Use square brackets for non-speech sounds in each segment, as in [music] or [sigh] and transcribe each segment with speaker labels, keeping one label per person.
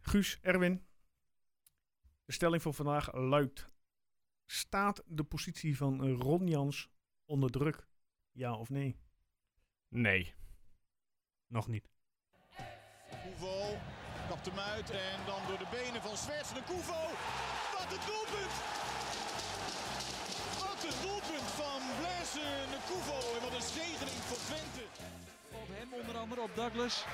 Speaker 1: Guus, Erwin. De stelling voor vandaag luidt. Staat de positie van Ron Jans onder druk? Ja of nee?
Speaker 2: Nee.
Speaker 1: Nog niet.
Speaker 3: Koevo kapt hem uit en dan door de benen van Zwerts de Koevo. Wat een doelpunt! Wat een doelpunt van Blaise de Koevo en wat een zegening voor Twente.
Speaker 4: Op hem onder andere, op Douglas.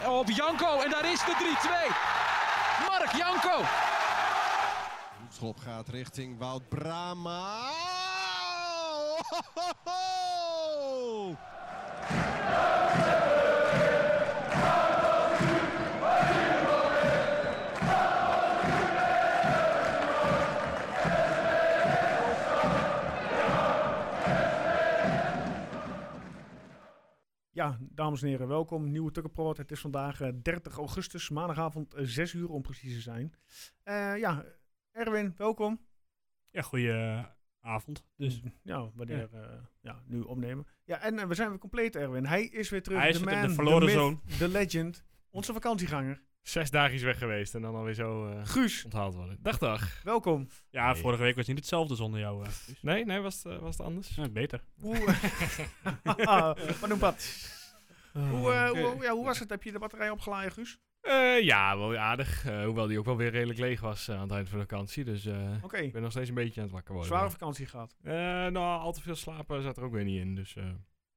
Speaker 4: En op Janko en daar is de 3-2. Mark Janko.
Speaker 5: Hoekschop gaat richting Wout Brama.
Speaker 1: Ja, dames en heren, welkom. Nieuwe Tukkenproot. Het is vandaag eh, 30 augustus, maandagavond eh, 6 uur om precies te zijn. Eh, ja, Erwin, welkom.
Speaker 2: Ja, goeie eh, avond.
Speaker 1: Mm.
Speaker 2: Dus
Speaker 1: Ja, wanneer eh, ja, nu opnemen. Ja, en eh, we zijn weer compleet, Erwin. Hij is weer terug.
Speaker 2: Hij is
Speaker 1: de
Speaker 2: weer terug,
Speaker 1: man,
Speaker 2: de verloren
Speaker 1: myth,
Speaker 2: zoon.
Speaker 1: De legend. Onze vakantieganger.
Speaker 2: zes dagen is weg geweest en dan alweer zo eh,
Speaker 1: Guus,
Speaker 2: onthaald worden. Dag, dag.
Speaker 1: welkom.
Speaker 6: Ja,
Speaker 2: Nee.
Speaker 6: vorige week was het niet hetzelfde zonder jou. eh, Guus.
Speaker 2: Nee, nee, was het, eh, was het anders?
Speaker 6: Ja, beter.
Speaker 1: Hoe, eh, [laughs] wat noemt dat? Hoe, eh, hoe, ja, hoe was het? Heb je de batterij opgeladen, Guus?
Speaker 2: Eh, ja, wel aardig. Eh, hoewel die ook wel weer redelijk leeg was eh, aan het eind van de vakantie. Dus eh,
Speaker 1: Oké,
Speaker 2: ik ben nog steeds een beetje aan het wakker worden.
Speaker 1: zware vakantie gehad.
Speaker 2: Eh, nou, al te veel slapen zat er ook weer niet in. Dus, eh,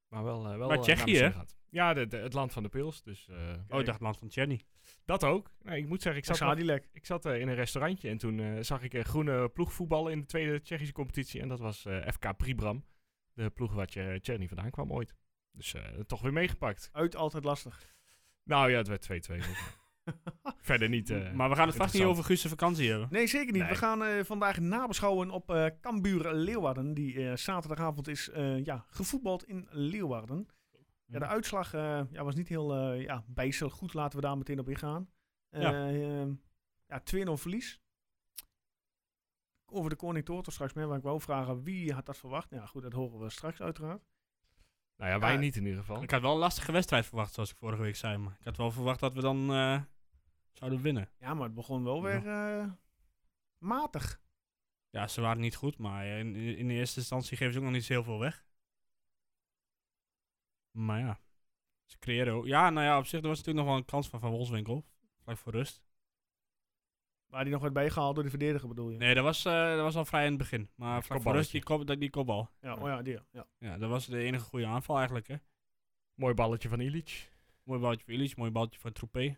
Speaker 2: maar wel, eh, wel
Speaker 6: Maar
Speaker 2: eh,
Speaker 6: Tsjechië,
Speaker 2: naar de zin
Speaker 6: hè?
Speaker 2: gehad. Ja, de- de- het land van de pils. Dus, eh,
Speaker 6: Oh, ik dacht land van Jenny.
Speaker 2: Dat ook. Nee, ik moet zeggen, ik
Speaker 1: Ik
Speaker 2: zat,
Speaker 1: zag
Speaker 2: nog-
Speaker 1: die lek.
Speaker 2: ik zat eh, in een restaurantje en toen eh, zag ik eh, groene ploeg voetballen in de tweede Tsjechische competitie. En dat was eh, FK Pribram, de ploeg waar je Tsjechië vandaan kwam ooit. Dus eh, toch weer meegepakt.
Speaker 1: Uit altijd lastig.
Speaker 2: Nou ja, het werd 2-2. volgens mij. Verder niet. eh,
Speaker 6: Mm. maar we gaan het vast niet
Speaker 2: interessant.
Speaker 6: over Guus' vakantie hebben.
Speaker 1: Nee, zeker niet.
Speaker 2: Nee.
Speaker 1: We gaan eh, vandaag nabeschouwen op eh Cambuur Leeuwarden. Die eh, zaterdagavond is eh, ja, gevoetbald in Leeuwarden. Ja, de uitslag eh, ja, was niet heel eh ja, bijster goed. Laten we daar meteen op ingaan. Eh,
Speaker 6: Ja.
Speaker 1: eh, ja, 2-0 verlies. Over de koning Toort er straks mee. Maar ik wou vragen, wie had dat verwacht? Nou ja, goed, dat horen we straks uiteraard.
Speaker 2: Nou ja, wij
Speaker 1: Ja.
Speaker 2: niet in ieder geval.
Speaker 6: Ik had wel een lastige wedstrijd verwacht, zoals ik vorige week zei. Maar ik had wel verwacht dat we dan eh, zouden winnen.
Speaker 1: Ja, maar het begon wel weer eh, matig.
Speaker 6: Ja, ze waren niet goed, maar in, in de eerste instantie geven ze ook nog niet zo heel veel weg. Maar ja, ze creëren ook. Ja, nou ja, op zich er was natuurlijk nog wel een kans van Van Wolfswinkel. Vlak voor rust.
Speaker 1: Waar die nog werd bijgehaald door de verdediger bedoel je?
Speaker 6: Nee, dat was, eh, dat was al vrij in het begin. Maar vlak voor
Speaker 2: kopballetje.
Speaker 6: rust, die, kop, die kopbal.
Speaker 1: Ja, oh ja, die. Ja.
Speaker 6: Ja, dat was de enige goede aanval eigenlijk, hè.
Speaker 2: Mooi balletje van Illich.
Speaker 6: Mooi baltje voor Illich, mooi baltje voor Troepé.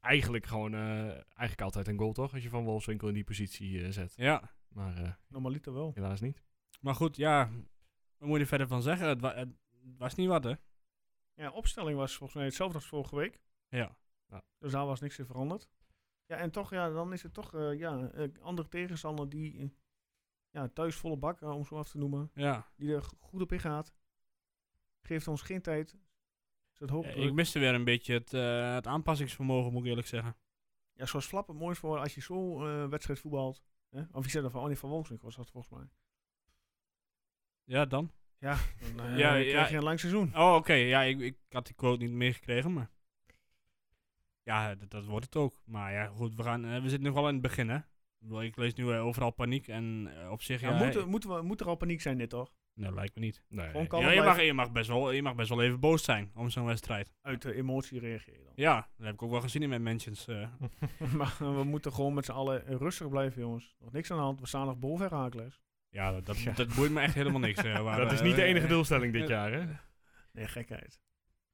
Speaker 2: Eigenlijk gewoon, eh, eigenlijk altijd een goal toch? Als je Van Wolfswinkel in die positie eh, zet.
Speaker 6: Ja,
Speaker 2: Maar eh,
Speaker 1: Normaliter wel.
Speaker 2: helaas niet.
Speaker 6: maar goed, ja. Wat moet je er verder van zeggen? Het, wa- het was niet wat, hè?
Speaker 1: Ja, opstelling was volgens mij hetzelfde als vorige week.
Speaker 6: Ja.
Speaker 1: Dus daar was niks in veranderd. Ja, en toch, ja, dan is het toch eh, ja, een andere tegenstander die eh, ja, thuis volle bak, eh, om zo af te noemen,
Speaker 6: Ja.
Speaker 1: die er go- goed op ingaat. Geeft ons geen tijd. Dus Zet hoog
Speaker 6: Eh,
Speaker 1: druk.
Speaker 6: Ik miste weer een beetje het, eh, het aanpassingsvermogen, moet ik eerlijk zeggen.
Speaker 1: Ja, zoals Flap het mooi is voor als je zo eh, wedstrijd voetbalt. Hè? Of je zet dan van, oh nee, van Wolfswinkel was dat volgens mij.
Speaker 6: Ja, dan?
Speaker 1: Ja, dan eh,
Speaker 6: Ja, ja.
Speaker 1: krijg je een lang seizoen.
Speaker 6: Oh, oké. Ja, ik, ik had die quote niet meegekregen, maar... Ja, dat, dat wordt het ook. Maar ja, goed, we, gaan, eh, we zitten nog wel in het begin, hè? Ik bedoel, Ik lees nu eh, overal paniek en eh, op zich...
Speaker 1: Ja,
Speaker 6: Ja,
Speaker 1: moet, er- moet, we- moet er al paniek zijn dit toch?
Speaker 6: Nou, lijkt me niet.
Speaker 2: Nee.
Speaker 1: Gewoon kalm
Speaker 6: Ja, je, mag,
Speaker 1: blijven.
Speaker 6: je, mag best wel, je mag best wel even boos zijn om zo'n wedstrijd.
Speaker 1: Uit de emotie reageren dan.
Speaker 6: Ja, dat heb ik ook wel gezien in mijn mentions. eh.
Speaker 1: [laughs] maar we moeten gewoon met z'n allen rustig blijven, jongens. Nog niks aan de hand. We staan nog boven Herakles.
Speaker 6: Ja, dat,
Speaker 2: [laughs]
Speaker 6: dat, dat boeit me echt helemaal niks. eh, waar-
Speaker 2: dat is
Speaker 6: eh,
Speaker 2: niet de
Speaker 6: eh,
Speaker 2: enige
Speaker 6: eh,
Speaker 2: doelstelling dit jaar, hè?
Speaker 1: Nee, gekheid.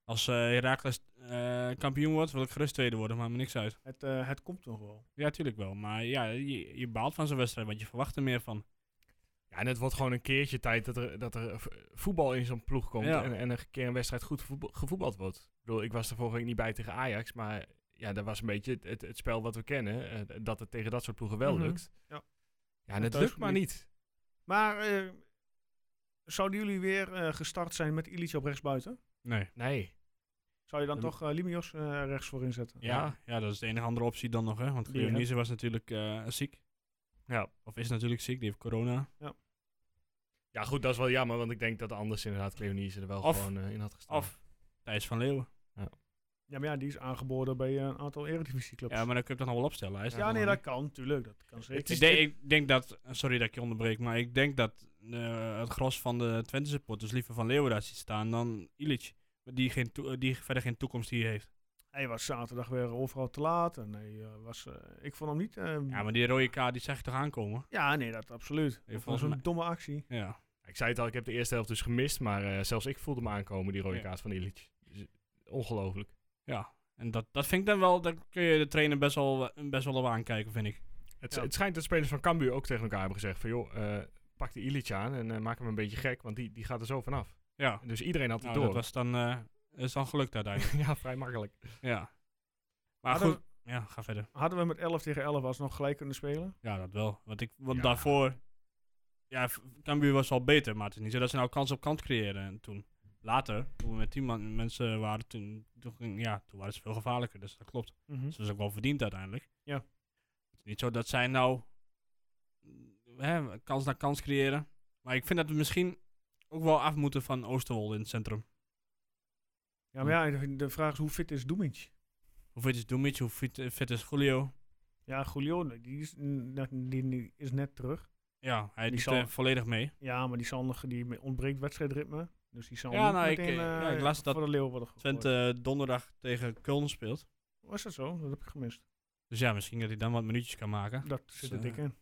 Speaker 6: Als eh Herakles eh, kampioen wordt, wil ik gerust tweede worden, maakt me niks uit.
Speaker 1: Het, eh, het komt nog wel.
Speaker 6: Ja, tuurlijk wel. Maar ja, je, je baalt van zo'n wedstrijd, want je verwacht er meer van.
Speaker 2: Ja, en het wordt gewoon een keertje tijd dat er, dat er v- voetbal in zo'n ploeg komt.
Speaker 6: Ja.
Speaker 2: En, en een keer een wedstrijd goed voetbal- gevoetbald wordt. Ik bedoel, ik was er vorige week niet bij tegen Ajax. Maar ja, dat was een beetje het, het, het spel wat we kennen. eh, dat het tegen dat soort ploegen wel
Speaker 1: Mhm.
Speaker 2: lukt.
Speaker 1: Ja.
Speaker 2: ja, en
Speaker 1: Ja,
Speaker 2: het
Speaker 1: thuis
Speaker 2: lukt maar
Speaker 1: niet.
Speaker 2: niet.
Speaker 1: Maar eh, zouden jullie weer eh, gestart zijn met Illich op rechtsbuiten?
Speaker 6: Nee.
Speaker 2: Nee.
Speaker 1: Zou je dan
Speaker 6: Ja,
Speaker 1: toch eh, Limios eh, rechts voor inzetten?
Speaker 6: Ja, ja, dat is de enige andere optie dan nog, hè. Want
Speaker 1: Die je
Speaker 6: Leonise was natuurlijk eh, ziek.
Speaker 2: Ja.
Speaker 6: Of is natuurlijk ziek, die heeft corona.
Speaker 2: Ja, goed, dat is wel jammer. Want ik denk dat anders inderdaad Cleonice er wel
Speaker 6: Of-
Speaker 2: gewoon eh, in had gestaan.
Speaker 6: Of Thijs van Leeuwen.
Speaker 1: Ja, maar ja, die is aangeboden bij eh, een aantal eredivisieclubs.
Speaker 6: Ja, maar dan kun je het toch nog wel opstellen. Hij is
Speaker 1: Ja,
Speaker 6: nog
Speaker 1: nee,
Speaker 6: wel-
Speaker 1: dat kan, tuurlijk. Dat kan
Speaker 6: Ik,
Speaker 1: zeker.
Speaker 6: denk- ik denk dat, sorry dat ik je onderbreek, maar ik denk dat eh, het gros van de Twente supporters liever van Leeuwarden ziet staan dan Illich. Die, geen toe- eh, die verder geen toekomst hier heeft.
Speaker 1: Hij was zaterdag weer overal te laat. En hij, eh, was, eh, ik vond hem niet... eh,
Speaker 6: Ja, maar die rode kaart die zag je toch aankomen?
Speaker 1: ja, nee, dat absoluut. Dat was
Speaker 6: volgens
Speaker 1: een
Speaker 6: mij-
Speaker 1: domme actie.
Speaker 6: Ja.
Speaker 2: Ik zei het al, ik heb de eerste helft dus gemist, maar eh, zelfs ik voelde me aankomen, die rode
Speaker 6: Ja.
Speaker 2: kaart van Illich. Dus, eh, ongelooflijk.
Speaker 6: ja. En dat, dat vind ik dan wel, daar kun je de trainer best wel, best wel op aankijken, vind ik.
Speaker 2: Het,
Speaker 1: Ja.
Speaker 2: het schijnt dat spelers van Cambuur ook tegen elkaar hebben gezegd van joh, eh, pak die Illich aan en eh, maak hem een beetje gek, want die, die gaat er zo vanaf.
Speaker 6: Ja.
Speaker 2: En Dus iedereen had het
Speaker 6: Nou,
Speaker 2: door.
Speaker 6: dat was dan, eh, dat is dan gelukt uiteindelijk.
Speaker 2: [laughs] ja, vrij makkelijk.
Speaker 6: ja. Maar
Speaker 1: Hadden,
Speaker 6: goed, ja, ga verder.
Speaker 1: hadden we met 11 tegen 11 alsnog gelijk kunnen spelen?
Speaker 6: Ja, dat wel. Want, ik, want
Speaker 2: Ja.
Speaker 6: daarvoor... Ja, v- Cambuur was al beter, maar het is niet zo dat ze nou kans op kans creëren. En toen, later, toen we met tien man- mensen waren, toen, toen, ging- ja, toen waren ze veel gevaarlijker. Dus dat klopt. Dus dat is ook wel verdiend uiteindelijk.
Speaker 1: Ja.
Speaker 6: Het is niet zo dat zij nou mm, hè, kans na kans creëren. Maar ik vind dat we misschien ook wel af moeten van Oosterwolde in het centrum.
Speaker 1: Ja, maar ja, de vraag is hoe fit is Doemits?
Speaker 6: Hoe fit is Doemic? Hoe fit, eh, fit is Julio?
Speaker 1: Ja, Julio, die is, n- net- die, die is net terug.
Speaker 6: Ja, hij
Speaker 1: Die
Speaker 6: doet
Speaker 1: zal-
Speaker 6: eh, volledig mee.
Speaker 1: Ja, maar die, zal nog, die ontbreekt wedstrijdritme. Dus die zal
Speaker 6: Ja,
Speaker 1: niet
Speaker 6: nou, ik,
Speaker 1: meteen
Speaker 6: eh, ja,
Speaker 1: eh,
Speaker 6: ik las dat
Speaker 1: voor de Leeuwarden gegooid.
Speaker 6: Twente eh, donderdag tegen Köln speelt.
Speaker 1: Was dat zo? Dat heb ik gemist.
Speaker 6: Dus ja, misschien dat hij dan wat minuutjes kan maken.
Speaker 1: Dat zit er
Speaker 6: eh,
Speaker 1: dik in.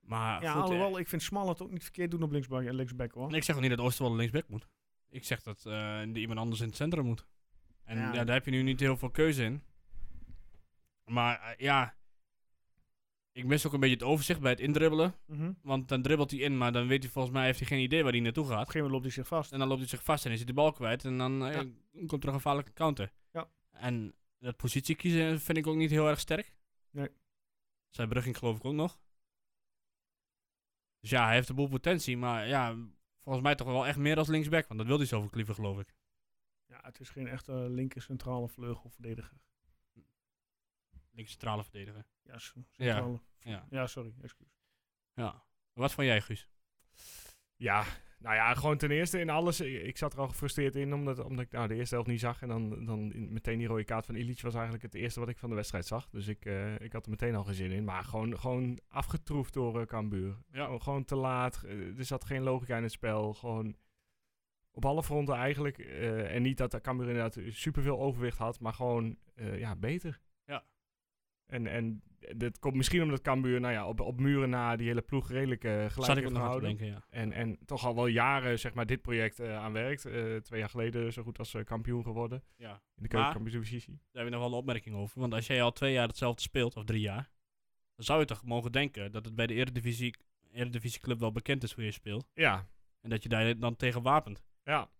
Speaker 6: Maar
Speaker 1: Ja,
Speaker 6: goed, eh,
Speaker 1: alhoewel, ik vind Smal het ook niet verkeerd doen op linksback, eh, linksback hoor.
Speaker 6: ik zeg ook niet dat Oosterwolde linksback moet. Ik zeg dat eh, er iemand anders in het centrum moet. En
Speaker 1: Ja.
Speaker 6: ja. daar heb je nu niet heel veel keuze in. Maar eh, ja, ik mis ook een beetje het overzicht bij het indribbelen.
Speaker 1: Mhm. Op
Speaker 6: Want dan dribbelt hij in, maar dan weet hij volgens mij heeft hij geen idee waar hij naartoe
Speaker 1: een
Speaker 6: gaat.
Speaker 1: gegeven moment loopt hij zich vast.
Speaker 6: En dan loopt hij zich vast en is hij de bal kwijt. En dan eh, komt er een gevaarlijke counter.
Speaker 1: Ja.
Speaker 6: En dat positie kiezen vind ik ook niet heel erg sterk.
Speaker 1: Nee.
Speaker 6: Zijn Brugging geloof ik ook nog. Dus ja, hij heeft een boel potentie. Maar ja, volgens mij toch wel echt meer als linksback. Want dat wil hij zoveel liever geloof ik.
Speaker 1: Ja, het is geen echte eh, linker centrale vleugelverdediger.
Speaker 6: Links centrale verdediger.
Speaker 1: Ja, s- centrale.
Speaker 6: Ja.
Speaker 1: Ja, sorry, excuus.
Speaker 6: ja. Wat van jij Guus?
Speaker 2: Ja, nou ja, gewoon ten eerste in alles. Ik, ik zat er al gefrustreerd in, omdat, omdat ik nou, de eerste helft niet zag. En dan, dan in- meteen die rode kaart van Illich was eigenlijk het eerste wat ik van de wedstrijd zag. Dus ik, eh, ik had er meteen al geen zin in. Maar gewoon, gewoon afgetroefd door eh Cambuur.
Speaker 6: Ja.
Speaker 2: Gewoon, gewoon te laat. Eh, er zat geen logica in het spel. Gewoon op alle fronten eigenlijk. Eh, en niet dat de Cambuur inderdaad superveel overwicht had, maar gewoon eh, ja, beter.
Speaker 6: Ja.
Speaker 2: En, en dat komt misschien omdat Cambuur nou ja, op, op muren na die hele ploeg redelijk eh gelijk
Speaker 6: Zat ik
Speaker 2: heeft
Speaker 6: ook nog aan te
Speaker 2: gehouden.
Speaker 6: denken, ja.
Speaker 2: En, en toch al wel jaren zeg maar, dit project eh, aan werkt. Eh, twee jaar geleden zo goed als eh, kampioen geworden
Speaker 6: ja.
Speaker 2: in de
Speaker 6: Maar-
Speaker 2: keukenkampioen
Speaker 6: Daar heb ik nog wel een opmerking over. Want als jij al twee jaar hetzelfde speelt, of drie jaar, dan zou je toch mogen denken dat het bij de Eredivisie, Eredivisieclub wel bekend is hoe je speelt.
Speaker 2: Ja,
Speaker 6: En dat je daar dan tegen wapent.
Speaker 2: ja.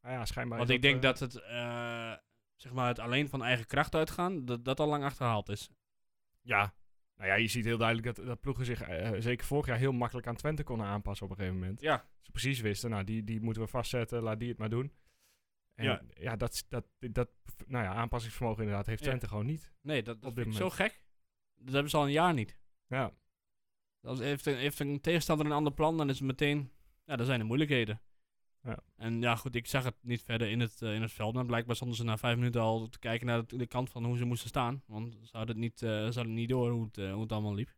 Speaker 2: Nou ja, schijnbaar.
Speaker 6: Want
Speaker 2: is
Speaker 6: ik denk
Speaker 2: eh,
Speaker 6: dat het, eh, zeg maar het alleen van eigen kracht uitgaan, dat dat al lang achterhaald is.
Speaker 2: Ja. Nou ja, je ziet heel duidelijk dat, dat ploegen zich eh, zeker vorig jaar heel makkelijk aan Twente konden aanpassen op een gegeven moment.
Speaker 6: Ja.
Speaker 2: Ze precies wisten, nou die, die moeten we vastzetten, laat die het maar doen. En ja,
Speaker 6: Ja.
Speaker 2: dat, dat, dat nou ja, aanpassingsvermogen inderdaad heeft
Speaker 6: Ja.
Speaker 2: Twente gewoon niet.
Speaker 6: Nee, dat, dat
Speaker 2: Op dit
Speaker 6: vind ik zo gek. Dat hebben ze al een jaar niet.
Speaker 2: Ja.
Speaker 6: Als heeft, een, heeft een tegenstander een ander plan, dan is het meteen... Ja, dan zijn er moeilijkheden.
Speaker 2: Ja.
Speaker 6: En ja, goed, ik zag het niet verder in het, eh, in het veld. Maar blijkbaar stonden ze na vijf minuten al te kijken naar de, de kant van hoe ze moesten staan. Want ze hadden het niet, eh, ze hadden niet door hoe het, eh, hoe het allemaal liep.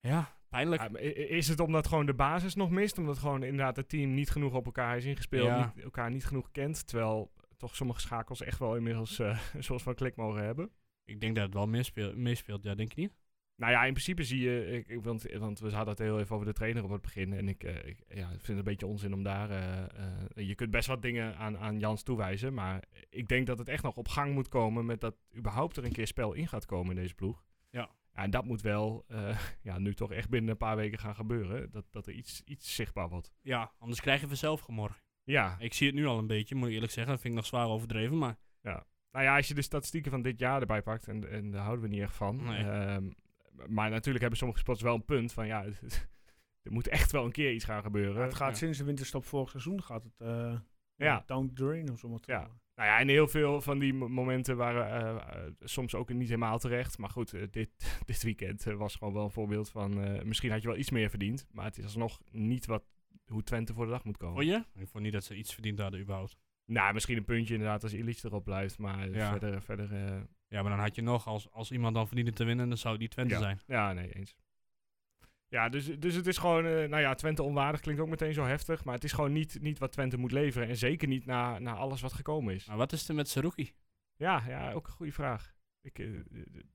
Speaker 6: Ja, pijnlijk.
Speaker 2: Ja, maar i- i- is het omdat gewoon de basis nog mist? Omdat gewoon inderdaad het team niet genoeg op elkaar is ingespeeld,
Speaker 6: Ja.
Speaker 2: niet, elkaar niet genoeg kent. Terwijl toch sommige schakels echt wel inmiddels eh, [laughs] een soort van klik mogen hebben.
Speaker 6: Ik denk dat het wel meespeelt, meespeelt ja, denk je niet?
Speaker 2: Nou ja, in principe zie je, ik- ik- want, want we hadden het heel even over de trainer op het begin. En ik, eh, ik- ja, ik vind het een beetje onzin om daar. eh, eh, je kunt best wat dingen aan, aan Jans toewijzen. Maar ik denk dat het echt nog op gang moet komen met dat überhaupt er een keer spel in gaat komen in deze ploeg.
Speaker 6: Ja.
Speaker 2: Ja, en dat moet wel eh, [laughs] ja, nu toch echt binnen een paar weken gaan gebeuren. Dat, dat er iets, iets zichtbaar wordt.
Speaker 6: Ja, anders krijgen we zelf gemorgen.
Speaker 2: Ja,
Speaker 6: Ik zie het nu al een beetje, moet ik eerlijk zeggen. Dat vind ik nog zwaar overdreven, maar...
Speaker 2: Nou ja, als je de statistieken van dit jaar erbij pakt, en, en daar houden we niet echt van.
Speaker 6: Nee.
Speaker 2: Ehm, maar natuurlijk hebben sommige sports wel een punt van ja, [laughs] er moet echt wel een keer iets gaan gebeuren.
Speaker 1: het gaat
Speaker 6: ja.
Speaker 1: sinds de winterstop vorig seizoen gaat het eh,
Speaker 2: Ja.
Speaker 1: down the drain, om zo maar te
Speaker 2: Ja.
Speaker 1: zeggen.
Speaker 2: Nou ja, en heel veel van die mo- momenten waren eh, eh, soms ook niet helemaal terecht. Maar goed, eh, dit, [laughs] dit weekend eh, was gewoon wel een voorbeeld van eh, misschien had je wel iets meer verdiend. Maar het is alsnog niet wat, hoe Twente voor de dag moet komen.
Speaker 6: Oh Vond je? Ik vond niet dat ze iets verdiend hadden überhaupt.
Speaker 2: Nou, misschien een puntje inderdaad als Illich erop blijft. Maar
Speaker 6: Ja.
Speaker 2: verder... verder eh,
Speaker 6: Ja, maar dan had je nog, als, als iemand dan verdiende te winnen, dan zou die Twente zijn.
Speaker 2: Ja, nee, eens. Ja, dus, dus het is gewoon, eh, nou ja, Twente onwaardig klinkt ook meteen zo heftig. Maar het is gewoon niet, niet wat Twente moet leveren. En zeker niet na, na alles wat gekomen is.
Speaker 6: Maar wat is er met Saruki?
Speaker 2: Ja, ja ook een goede vraag. Ik, eh, eh,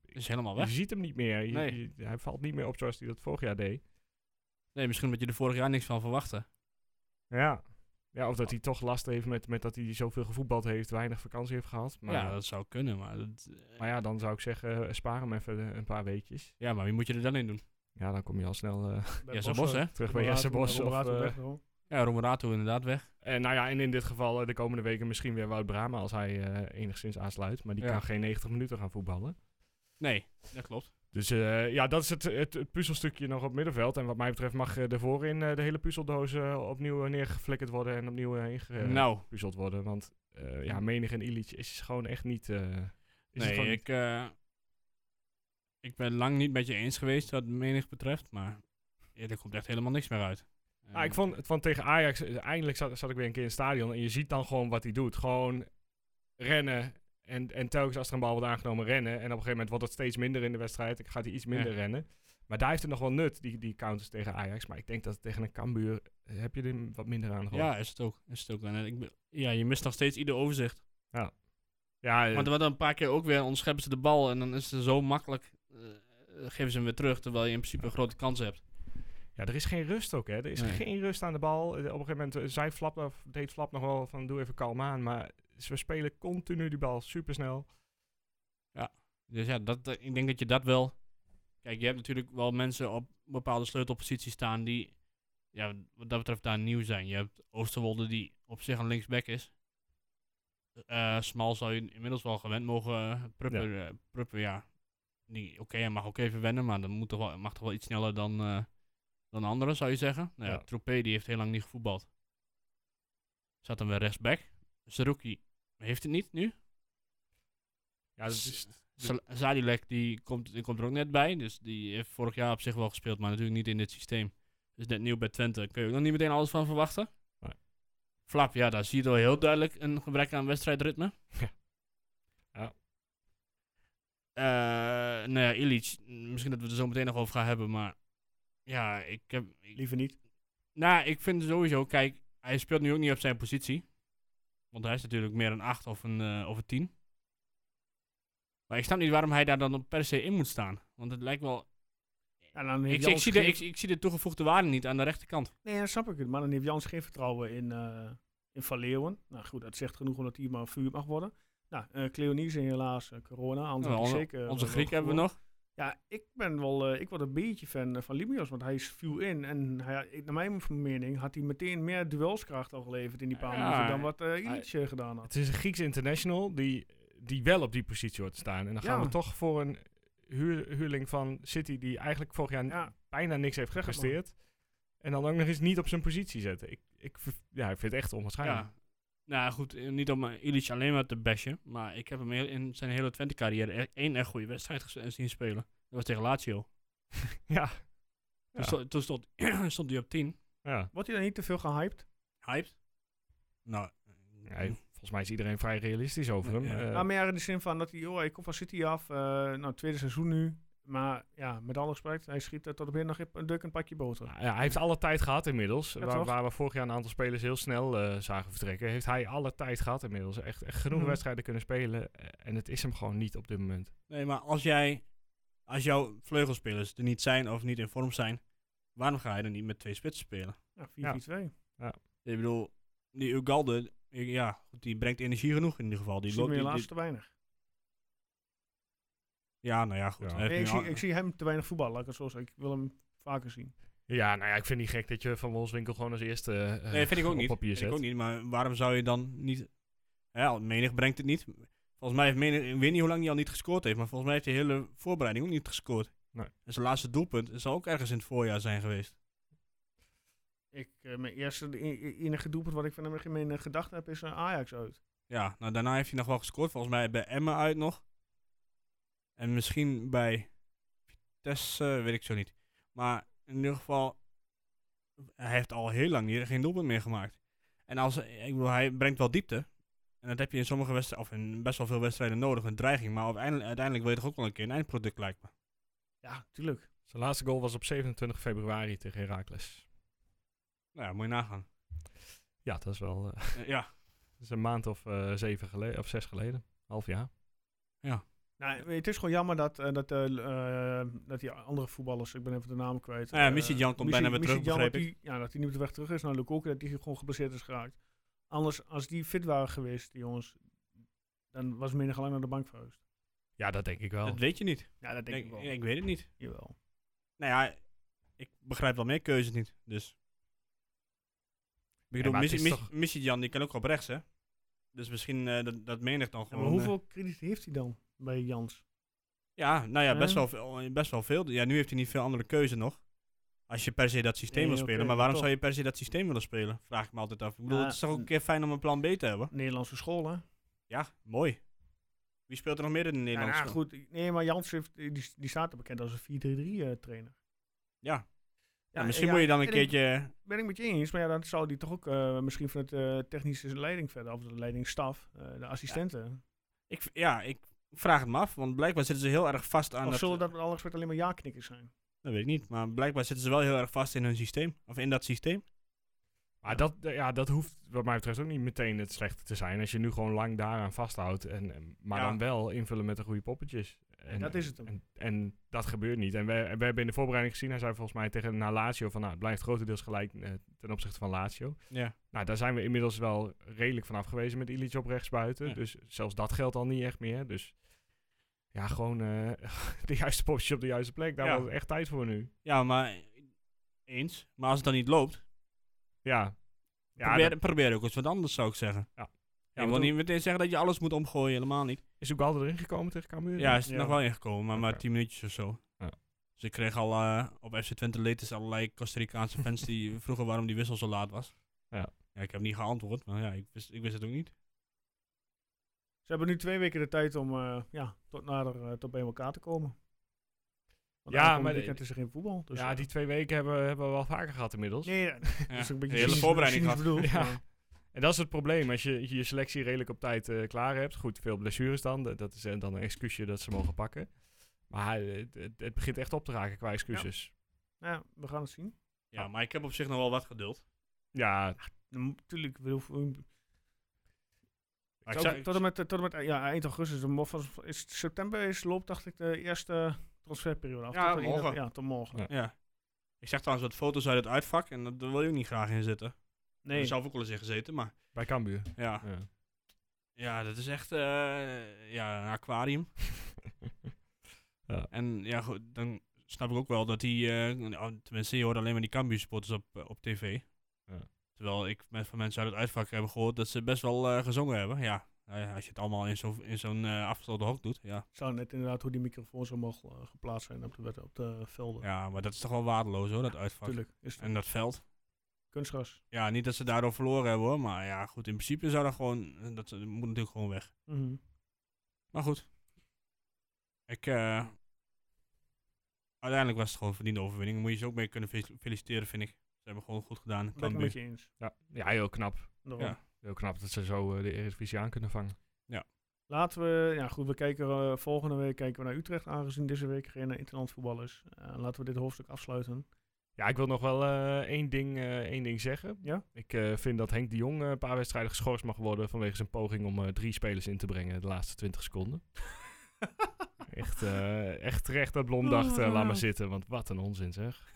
Speaker 6: Is helemaal
Speaker 2: je
Speaker 6: weg.
Speaker 2: ziet hem niet meer. Je-
Speaker 6: Nee.
Speaker 2: je- hij valt niet meer op zoals hij dat vorig jaar deed.
Speaker 6: Nee, misschien omdat je er vorig jaar niks van verwachtte.
Speaker 2: Ja. Ja, of dat hij toch last heeft met, met dat hij zoveel gevoetbald heeft, weinig vakantie heeft gehad. Maar
Speaker 6: ja,
Speaker 2: ja,
Speaker 6: dat zou kunnen, maar, dat,
Speaker 2: maar ja dan zou ik zeggen, eh, spaar hem even eh, een paar weekjes.
Speaker 6: ja, maar wie moet je er dan in doen?
Speaker 2: Ja, dan kom je al snel eh,
Speaker 1: Bij
Speaker 6: Jesse
Speaker 1: Bos,
Speaker 6: Bos, hè?
Speaker 2: terug bij
Speaker 1: Robberato-
Speaker 2: Jesse Bos. Of,
Speaker 1: Robberato
Speaker 2: eh,
Speaker 1: weg, hoor.
Speaker 6: Ja, Romerato inderdaad weg.
Speaker 2: En nou ja, en in dit geval eh, de komende weken misschien weer Wout Brama als hij eh, enigszins aansluit. Maar die
Speaker 6: Ja.
Speaker 2: kan geen 90 minuten gaan voetballen.
Speaker 6: Nee, dat klopt.
Speaker 2: Dus eh, ja, dat is het, het, het puzzelstukje nog op middenveld. En wat mij betreft mag eh, er voorin eh, de hele puzzeldoos eh, opnieuw eh, neergeflikkerd worden en opnieuw eh, ingepuzzeld
Speaker 6: nou,
Speaker 2: worden. Want eh, ja, menig en Illich is gewoon echt niet... eh, is het
Speaker 6: nee,
Speaker 2: gewoon
Speaker 6: ik, eh, ik ben lang niet met je eens geweest wat menig betreft, maar ja, er komt echt helemaal niks meer uit.
Speaker 2: Ja, Ah, ik
Speaker 6: Eh,
Speaker 2: vond het van tegen Ajax, eh, eindelijk zat, zat ik weer een keer in het stadion en je ziet dan gewoon wat hij doet. Gewoon rennen en, en telkens als er een bal wordt aangenomen rennen. En op een gegeven moment wordt het steeds minder in de wedstrijd. Ik gaat hij iets minder
Speaker 6: Ja.
Speaker 2: rennen. Maar daar heeft het nog wel nut, die, die counters tegen Ajax. Maar ik denk dat tegen een Cambuur eh, heb je er wat minder aan gewoon.
Speaker 6: Ja, is het ook. Is het ook. En, eh, ik, be- ja, je mist nog steeds ieder overzicht.
Speaker 2: ja eh,
Speaker 6: Want wat een paar keer ook weer ontscheppen ze de bal en dan is het zo makkelijk, eh, geven ze hem weer terug, terwijl je in principe een grote kans hebt.
Speaker 2: Ja, er is geen rust ook, hè. Er is
Speaker 6: Nee.
Speaker 2: geen rust aan de bal. Eh, Op een gegeven moment eh, zei Flap, nog- deed Flap nog wel van doe even kalm aan. Maar ze spelen continu die bal supersnel.
Speaker 6: Dus ja, dat, dat- ik denk dat je dat wel. Kijk, je hebt natuurlijk wel mensen op bepaalde sleutelposities staan die, ja, wat dat betreft, daar nieuw zijn. Je hebt Oosterwolde, die op zich een linksback is. Eh, Smal zou je inmiddels wel gewend mogen. eh, Prupper, ja. Prupper, ja. Die, Oké, hij mag ook even wennen, maar dat moet toch wel, mag toch wel iets sneller dan, eh, dan anderen, zou je zeggen. Nou ja,
Speaker 2: Ja.
Speaker 6: Troepé, die heeft heel lang niet gevoetbald. Zat hem weer rechtsback. Saruki heeft het niet nu.
Speaker 2: Ja, dat is,
Speaker 6: Sal- Zadilek die komt, die komt er ook net bij. Dus die heeft vorig jaar op zich wel gespeeld, maar natuurlijk niet in dit systeem. Dus net nieuw bij Twente. Kun je ook nog niet meteen alles van verwachten.
Speaker 2: Nee.
Speaker 6: Flap, ja, daar zie je wel heel duidelijk een gebrek aan wedstrijdritme. [laughs]
Speaker 2: Ja. Ja.
Speaker 6: Eh, nou ja, Illich, misschien dat we het er zo meteen nog over gaan hebben, maar ja, ik heb... ik-
Speaker 1: Liever niet.
Speaker 6: nou, ik vind sowieso, kijk, hij speelt nu ook niet op zijn positie. Want hij is natuurlijk meer een 8 of een, eh, of een 10. Maar ik snap niet waarom hij daar dan op per se in moet staan. Want het lijkt wel.
Speaker 1: En dan heeft
Speaker 6: Ik, ik,
Speaker 1: Jans
Speaker 6: zie de,
Speaker 1: geen-
Speaker 6: ik, ik zie de toegevoegde waarde niet aan de rechterkant.
Speaker 1: Nee, dat snap ik het. Maar dan heeft Jans geen vertrouwen in, eh in Van Leeuwen. Nou goed, dat zegt genoeg omdat hij maar vuur mag worden. Nou, eh Cleonise helaas, eh, corona. Anders had
Speaker 6: Nou,
Speaker 1: hij
Speaker 6: onze-
Speaker 1: zeker, eh,
Speaker 6: Onze
Speaker 1: wel
Speaker 6: Griek hebben we
Speaker 1: gevoerd.
Speaker 6: nog.
Speaker 1: Ja, ik ben wel, eh, ik word een beetje fan eh, van Limios, want hij viel in. En hij, ik- naar mijn mening had hij meteen meer duelskracht al geleverd in die paar
Speaker 6: Ja,
Speaker 1: minuten dan wat eh Illich eh, gedaan had.
Speaker 2: Het is een Grieks international die, die wel op die positie hoort te staan. En dan gaan
Speaker 1: Ja.
Speaker 2: we toch voor een huur, huurling van City die eigenlijk vorig jaar
Speaker 1: Ja,
Speaker 2: bijna niks heeft
Speaker 1: Zeg het maar.
Speaker 2: gepresteerd. En dan ook nog eens niet op zijn positie zetten. Ik, ik, v- ja, ik vind het echt onwaarschijnlijk.
Speaker 6: Ja. Nou goed, eh, niet om eh, Illich alleen maar te bashen. Maar ik heb hem heel- in zijn hele Twente-carrière e- één echt goede wedstrijd ges- eh, zien spelen. Dat was tegen Lazio.
Speaker 2: Ja.
Speaker 6: Toen,
Speaker 2: Ja.
Speaker 6: stond, toen stond, [clears throat] stond hij op 10.
Speaker 2: Ja.
Speaker 1: wordt hij dan niet te veel gehyped?
Speaker 6: Hyped. Nou,
Speaker 2: Ja, hij- volgens mij is iedereen vrij realistisch over hem.
Speaker 6: Ja.
Speaker 2: Eh,
Speaker 1: Nou, meer in de zin van dat hij, oh, ik kom van City af, eh, nou, tweede seizoen nu. Maar ja, met alle respect, hij schiet er tot op heden nog een duk een pakje boter.
Speaker 2: ja, hij heeft alle tijd gehad inmiddels.
Speaker 1: Ja,
Speaker 2: waar,
Speaker 1: toch?
Speaker 2: waar we vorig jaar een aantal spelers heel snel eh, zagen vertrekken, heeft hij alle tijd gehad inmiddels. Echt, echt genoeg
Speaker 1: Mhm.
Speaker 2: wedstrijden kunnen spelen. eh, en het is hem gewoon niet op dit moment.
Speaker 6: Nee, maar als jij, als jouw vleugelspelers er niet zijn of niet in vorm zijn, waarom ga je dan niet met twee spitsen spelen?
Speaker 1: Ja, 4-4-2.
Speaker 6: Ik bedoel, die Ugalde, ik- ja, goed, die brengt energie genoeg in ieder geval. Die
Speaker 1: Die
Speaker 6: loopt,
Speaker 1: loopt
Speaker 6: die- die-
Speaker 1: helaas te weinig.
Speaker 6: ja, nou ja, goed.
Speaker 2: Ja.
Speaker 6: hij heeft
Speaker 1: Nee, ik,
Speaker 6: nu
Speaker 1: zie,
Speaker 6: al-
Speaker 1: ik zie hem te weinig voetballen, laat ik het zo zeggen. Ik wil hem vaker zien.
Speaker 2: Ja, nou ja, ik vind niet gek dat je Van Wolfswinkel gewoon als eerste eh,
Speaker 6: nee, vind ik ook
Speaker 2: op
Speaker 6: niet.
Speaker 2: papier
Speaker 6: Vind ik
Speaker 2: zet.
Speaker 6: ook niet, maar waarom zou je dan niet... Ja, menig brengt het niet. Volgens mij heeft menig, ik weet niet hoe lang hij al niet gescoord heeft, maar volgens mij heeft hij de hele voorbereiding ook niet gescoord.
Speaker 2: Nee.
Speaker 6: En zijn laatste doelpunt zal ook ergens in het voorjaar zijn geweest.
Speaker 1: Ik, eh, mijn eerste, de e- e- enige doelpunt wat ik van hem in mijn eh, gedachten heb, is eh, Ajax uit.
Speaker 6: Ja, nou daarna heeft hij nog wel gescoord. Volgens mij bij Emmen uit nog. En misschien bij Vitesse, eh, weet ik zo niet. Maar in ieder geval, hij heeft al heel lang niet- geen doelpunt meer gemaakt. En als, ik bedoel, hij brengt wel diepte. En dat heb je in sommige wedstrijden, of in best wel veel wedstrijden nodig, een dreiging. Maar uiteindelijk, uiteindelijk wil je toch ook wel een keer een eindproduct, lijkt me.
Speaker 1: Ja, tuurlijk.
Speaker 2: Zijn laatste goal was op 27 februari tegen Heracles.
Speaker 6: Nou ja, moet je nagaan.
Speaker 2: Ja, dat is wel eh, [laughs]
Speaker 6: Eh, ja,
Speaker 2: dat is een maand of eh, zeven geleden, of zes geleden. Half jaar.
Speaker 1: Nou, het is gewoon jammer dat, eh, dat, eh, l- eh, dat die andere voetballers, ik ben even de naam kwijt.
Speaker 6: Nou ja,
Speaker 1: eh,
Speaker 6: Missie Jan komt
Speaker 1: Missie-
Speaker 6: bijna weer terug,
Speaker 1: Missie Jan,
Speaker 6: begreep
Speaker 1: dat die- Ja, dat hij niet op de weg terug is naar Lukaku, dat die gewoon geblesseerd is geraakt. Anders, als die fit waren geweest, die jongens, dan was menig alleen naar de bank verhuisd.
Speaker 2: Ja, dat denk ik wel.
Speaker 6: dat weet je niet.
Speaker 1: Ja, dat denk ik,
Speaker 6: ik,
Speaker 1: wel.
Speaker 6: ik weet het niet.
Speaker 1: Jawel.
Speaker 6: Nou ja, ik begrijp wel meer keuzes niet, dus. Ik
Speaker 2: Ja,
Speaker 6: bedoel,
Speaker 2: maar het
Speaker 6: Missie
Speaker 2: is
Speaker 6: Missie-
Speaker 2: toch-
Speaker 6: Missie Jan, die kan ook op rechts, hè? Dus misschien eh, dat, dat menig dan
Speaker 1: Ja,
Speaker 6: gewoon...
Speaker 1: maar
Speaker 6: eh,
Speaker 1: hoeveel krediet heeft hij dan bij Jans?
Speaker 6: Ja, nou ja, best,
Speaker 1: Ja.
Speaker 6: wel veel, best wel veel. Ja, nu heeft hij niet veel andere keuze nog. Als je per se dat systeem
Speaker 1: Nee,
Speaker 6: wil
Speaker 1: oké,
Speaker 6: spelen.
Speaker 1: maar
Speaker 6: maar waarom
Speaker 1: toch.
Speaker 6: zou je per se dat systeem willen spelen? Vraag ik me altijd af. Ik bedoel,
Speaker 1: Ja, mm.
Speaker 6: het is toch ook een
Speaker 1: n-
Speaker 6: keer fijn om een plan B te hebben?
Speaker 1: Nederlandse school, hè?
Speaker 6: Ja, mooi. Wie speelt er nog meer in de
Speaker 1: Ja,
Speaker 6: Nederlandse?
Speaker 1: nou, goed. Nee, maar Jans heeft, die, die staat er bekend als een 4-3-3 eh, trainer.
Speaker 6: Ja.
Speaker 1: Ja,
Speaker 6: misschien
Speaker 1: ja,
Speaker 6: moet je dan een
Speaker 1: en ik-
Speaker 6: keertje... eh,
Speaker 1: ben ik met je eens, maar ja, dan zou die toch ook eh, misschien vanuit de technische leiding verder, of de leidingstaf, eh, de assistenten.
Speaker 6: Ik, v- ja, ik vraag het me af. Want blijkbaar zitten ze heel erg vast aan
Speaker 1: of
Speaker 6: dat... eh,
Speaker 1: zullen dat met alle respect alleen maar ja-knikkers zijn?
Speaker 6: Dat weet ik niet. Maar blijkbaar zitten ze wel heel erg vast in hun systeem. Of in dat systeem.
Speaker 2: Maar dat, eh, ja, dat hoeft wat mij betreft ook niet meteen het slechte te zijn. Als je nu gewoon lang daaraan vasthoudt. En, en- maar
Speaker 6: Ja.
Speaker 2: dan wel invullen met de goede poppetjes. En,
Speaker 1: dat is het hem.
Speaker 2: En, en dat gebeurt niet. En we, en we hebben in de voorbereiding gezien, hij zei volgens mij tegen na Lazio van nou, het blijft grotendeels gelijk eh, ten opzichte van Lazio.
Speaker 6: Ja.
Speaker 2: Nou, daar zijn we inmiddels wel redelijk van afgewezen met Illich op rechtsbuiten.
Speaker 6: Ja.
Speaker 2: Dus zelfs dat geldt al niet echt meer. Dus ja, gewoon eh, [laughs] de juiste poppetjes op de juiste plek. Daar
Speaker 6: Ja.
Speaker 2: was het echt tijd voor nu.
Speaker 6: Ja, maar... Eens. Maar als het dan niet loopt...
Speaker 2: Ja. Ja,
Speaker 6: probeer,
Speaker 2: dat
Speaker 6: probeer ook eens wat anders, zou ik zeggen.
Speaker 2: Ja. Ja,
Speaker 6: ik wil
Speaker 2: want
Speaker 6: niet meteen zeggen dat je alles moet omgooien. Helemaal niet.
Speaker 2: is ook wel erin gekomen tegen Cambuur.
Speaker 6: Ja, is er nog wel ingekomen, maar maar
Speaker 2: Oké.
Speaker 6: 10 minuutjes of zo.
Speaker 2: Ja.
Speaker 6: Dus ik kreeg al eh, op FC Twente latest allerlei Costa Ricaanse fans die vroegen waarom die wissel zo laat was.
Speaker 2: Ja.
Speaker 6: ja ik heb niet geantwoord, maar ja, ik wist, ik wist het ook niet.
Speaker 1: Ze hebben nu twee weken de tijd om eh, ja, tot nader eh, tot bij elkaar te komen. Want
Speaker 2: Ja,
Speaker 1: ja,
Speaker 2: maar
Speaker 1: maar
Speaker 2: de-
Speaker 1: weekend is er geen voetbal. Dus
Speaker 2: ja,
Speaker 1: eh,
Speaker 2: die twee weken hebben, hebben we wel vaker gehad inmiddels.
Speaker 1: Nee, ja, dat
Speaker 6: [laughs] Ja.
Speaker 1: is ook een
Speaker 6: De
Speaker 1: beetje [laughs]
Speaker 6: hele
Speaker 1: cynisch-
Speaker 6: voorbereiding
Speaker 1: cynisch
Speaker 6: gehad.
Speaker 1: bedoeld,
Speaker 2: Ja.
Speaker 1: maar-
Speaker 2: En dat is het probleem. Als je je je selectie redelijk op tijd eh, klaar hebt. Goed, veel blessures dan. Dat- Dat is eh, dan een excuusje dat ze mogen pakken. Maar eh, het, het- het begint echt op te raken qua excuses.
Speaker 1: Nou ja, we gaan het zien.
Speaker 6: Ja, maar ik heb op zich nog wel wat geduld.
Speaker 2: Ja,
Speaker 1: Natuurlijk,
Speaker 6: Maar ik zou-
Speaker 1: tot en met, tot en met eh, ja, eind augustus. de mo- van- Is, september is, loopt, dacht ik, de eerste transferperiode af.
Speaker 6: Ja,
Speaker 1: Tot de ene-
Speaker 6: morgen.
Speaker 1: Ja, tot morgen.
Speaker 2: Ja.
Speaker 6: ja. Ik zag trouwens wat foto's uit het uitvak en dat- daar wil je ook niet graag in zitten. Ik heb
Speaker 1: Nee,
Speaker 6: er zelf ook wel eens in gezeten, maar
Speaker 2: bij Cambuur.
Speaker 6: ja.
Speaker 2: Ja.
Speaker 6: Ja, dat is echt eh, ja, een aquarium.
Speaker 2: Ja.
Speaker 6: En ja, goed, dan snap ik ook wel dat hij... tenminste, je hoort alleen maar die Cambuur supporters op, eh, op tv.
Speaker 2: Ja.
Speaker 6: Terwijl ik met, van mensen uit het uitvak heb gehoord dat ze best wel eh, gezongen hebben. Ja, nou ja, als je het allemaal in zo'n in zo'n eh, afgesloten hok doet. Ja.
Speaker 1: zou net inderdaad hoe die microfoons allemaal eh, geplaatst zijn op de, wet- op de velden.
Speaker 6: ja, maar dat is toch wel waardeloos hoor, dat uitvak.
Speaker 1: Tuurlijk, is het
Speaker 6: En dat veld.
Speaker 1: kunstgras.
Speaker 6: Ja, niet dat ze daardoor verloren hebben hoor. Maar ja, goed, in principe zou dat gewoon... Dat moet natuurlijk gewoon weg.
Speaker 1: Mhm.
Speaker 6: Maar goed. Ik, eh, uiteindelijk was het gewoon een verdiende overwinning. Moet je ze ook mee kunnen fel- feliciteren, vind ik. Ze hebben gewoon goed gedaan.
Speaker 1: Ben ik het
Speaker 6: Cambuur.
Speaker 1: met je eens.
Speaker 2: Ja. ja, heel knap.
Speaker 1: Daarom.
Speaker 6: Ja.
Speaker 2: Heel knap dat ze zo eh, de Eredivisie aan kunnen vangen.
Speaker 1: Laten we, ja goed, we kijken eh, volgende week kijken we naar Utrecht, aangezien deze week geen eh, interland voetbal is. Eh, laten we dit hoofdstuk
Speaker 2: [laughs]
Speaker 1: afsluiten.
Speaker 2: Ja, ik wil nog wel eh, één, ding, eh, één ding zeggen.
Speaker 1: Ja?
Speaker 2: Ik eh, vind dat Henk de Jong eh, een paar wedstrijden geschorst mag worden vanwege zijn poging om eh, drie spelers in te brengen de laatste 20 seconden. echt, eh, echt terecht dat Blom dacht, eh, laat maar zitten, want wat een onzin zeg.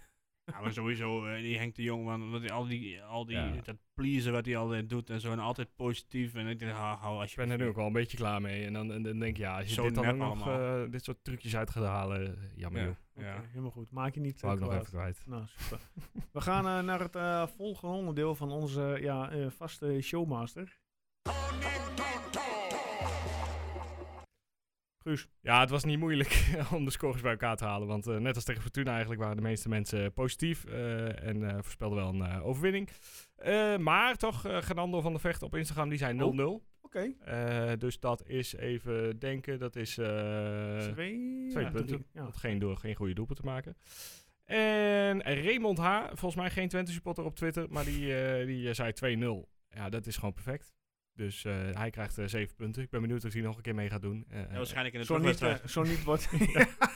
Speaker 6: Ja, maar sowieso, eh, die Henk de Jong, man, wat die, al die, al die
Speaker 2: Ja.
Speaker 6: dat pleasen wat hij altijd doet en zo. En altijd positief. En ik denk, hou, hou als
Speaker 2: Ik
Speaker 6: je...
Speaker 2: ben er nu ook wel een beetje klaar mee. En dan, en dan denk je, ja, als je
Speaker 6: Zo
Speaker 2: dit dan
Speaker 6: nep
Speaker 2: ook nog
Speaker 6: allemaal.
Speaker 2: eh, dit soort trucjes uit gaat halen, eh, jammer joh.
Speaker 6: Ja.
Speaker 1: Oké,
Speaker 6: Ja.
Speaker 1: helemaal goed. Maak je niet.
Speaker 2: Wou ik
Speaker 1: eh,
Speaker 2: nog
Speaker 1: kwaad.
Speaker 2: even kwijt.
Speaker 1: Nou, super. we gaan eh, naar het eh, volgende onderdeel van onze ja, eh, vaste showmaster. Guus,
Speaker 2: Ja, het was niet moeilijk [laughs] om de scores bij elkaar te halen. Want eh, net als tegen Fortuna eigenlijk waren de meeste mensen positief. eh, en eh, voorspelden wel een eh, overwinning. Eh, maar toch, eh Ganando van de Vecht op Instagram, die zijn 0-0.
Speaker 6: Oh.
Speaker 1: oké.
Speaker 2: Eh, dus dat is even denken, dat is... eh,
Speaker 1: twee,
Speaker 2: twee
Speaker 1: ja,
Speaker 2: punten.
Speaker 1: drie, ja.
Speaker 2: had geen, door, geen goede doelpunt te maken. En Raymond H., volgens mij geen Twente supporter op Twitter, maar die, eh, die eh, zei 2-0. Ja, dat is gewoon perfect. Dus eh, hij krijgt eh, zeven punten. Ik ben benieuwd of hij nog een keer mee gaat doen. Eh,
Speaker 6: Ja, waarschijnlijk in de
Speaker 1: Zo niet,
Speaker 6: terugwedstrijd.
Speaker 1: eh, zo niet wordt [laughs]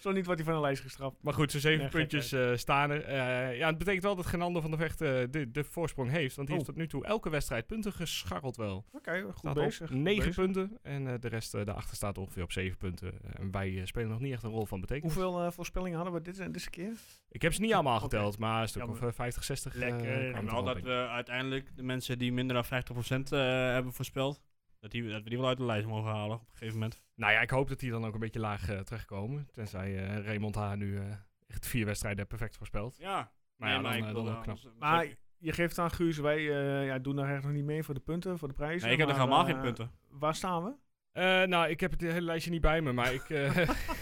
Speaker 1: zo niet wordt hij van de lijst gestraft.
Speaker 2: Maar goed, zijn zeven
Speaker 1: Ja,
Speaker 2: puntjes eh, staan er. Eh, ja, het betekent wel dat Genander van de Vecht eh, de, de voorsprong heeft. Want hij
Speaker 1: Oh.
Speaker 2: heeft tot nu toe elke wedstrijd punten gescharreld wel.
Speaker 1: Oké, goed
Speaker 2: Staat
Speaker 1: bezig.
Speaker 2: op 9
Speaker 1: bezig.
Speaker 2: punten. En eh, de rest eh, daarachter staat ongeveer op 7 punten. Eh, en wij eh, spelen nog niet echt een rol van betekenis.
Speaker 1: Hoeveel eh, voorspellingen hadden we dit, deze keer?
Speaker 2: Ik heb ze niet allemaal
Speaker 1: Oké.
Speaker 2: geteld, maar een stuk
Speaker 1: Jammer.
Speaker 2: of eh, 50, 60. eh,
Speaker 1: Lekker. nou,
Speaker 2: kwamen
Speaker 1: Ja,
Speaker 2: er
Speaker 6: Ja,
Speaker 1: maar
Speaker 6: maar
Speaker 2: wel
Speaker 6: wel dat
Speaker 2: binnen.
Speaker 6: we uiteindelijk de mensen die minder dan 50% eh, hebben voorspeld, dat, die, dat we die wel uit de lijst mogen halen op een gegeven moment.
Speaker 2: Nou ja, ik hoop dat die dan ook een beetje laag eh, terechtkomen. Tenzij eh, Raymond H. nu eh, echt vier wedstrijden perfect voorspelt.
Speaker 6: Ja,
Speaker 2: Maar ja, dan, eh, dan ook knap.
Speaker 1: Maar je geeft aan Guus, wij eh, ja, doen daar echt nog niet mee voor de punten, voor de prijzen.
Speaker 6: ik heb nog
Speaker 1: maar,
Speaker 6: helemaal geen
Speaker 1: eh,
Speaker 6: punten.
Speaker 1: Waar staan we?
Speaker 2: Eh, nou, ik heb het hele lijstje niet bij me, maar
Speaker 1: [laughs]
Speaker 2: ik, eh, [laughs]
Speaker 1: wij
Speaker 2: ja, we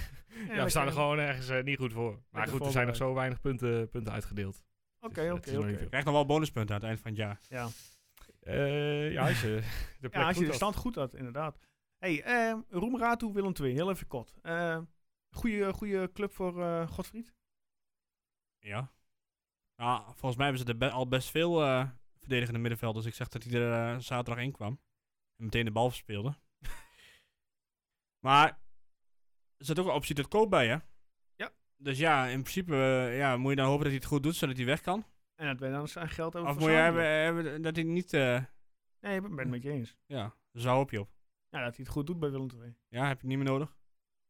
Speaker 2: staan er
Speaker 1: kunnen-
Speaker 2: gewoon ergens eh, niet goed voor. Maar goed, er zijn nog zo weinig punten, punten uitgedeeld. Het is,
Speaker 1: Oké,
Speaker 2: eh, het is
Speaker 1: oké,
Speaker 2: nog niet
Speaker 1: oké.
Speaker 6: Ik krijg nog wel bonuspunten aan het eind van het jaar.
Speaker 1: Ja.
Speaker 2: veel. Eh, ja, als je de plek
Speaker 1: Ja, als je
Speaker 2: goed
Speaker 1: de
Speaker 2: had.
Speaker 1: stand goed had, inderdaad. hey, eh, Roemerato, Willem II, heel even kort. Eh goede, goede club voor eh Godfried.
Speaker 6: Ja. Nou, volgens mij hebben ze er be- al best veel eh, verdedigende middenvelders. Ik zeg dat hij er eh, zaterdag in kwam. En meteen de bal verspeelde. [laughs] maar er zit ook een optie tot koop bij, hè?
Speaker 1: Ja.
Speaker 6: Dus ja, in principe eh, ja, moet je dan hopen dat hij het goed doet, zodat hij weg kan.
Speaker 1: En dat wij dan zijn geld over
Speaker 6: Of
Speaker 1: voor
Speaker 6: moet je
Speaker 1: Zambia.
Speaker 6: hebben, hebben dat hij niet... eh,
Speaker 1: Nee, ik ben het met je eens.
Speaker 6: ja, dus daar hoop je op.
Speaker 1: Ja, dat hij het goed doet bij Willem II.
Speaker 6: Ja, heb je niet meer nodig.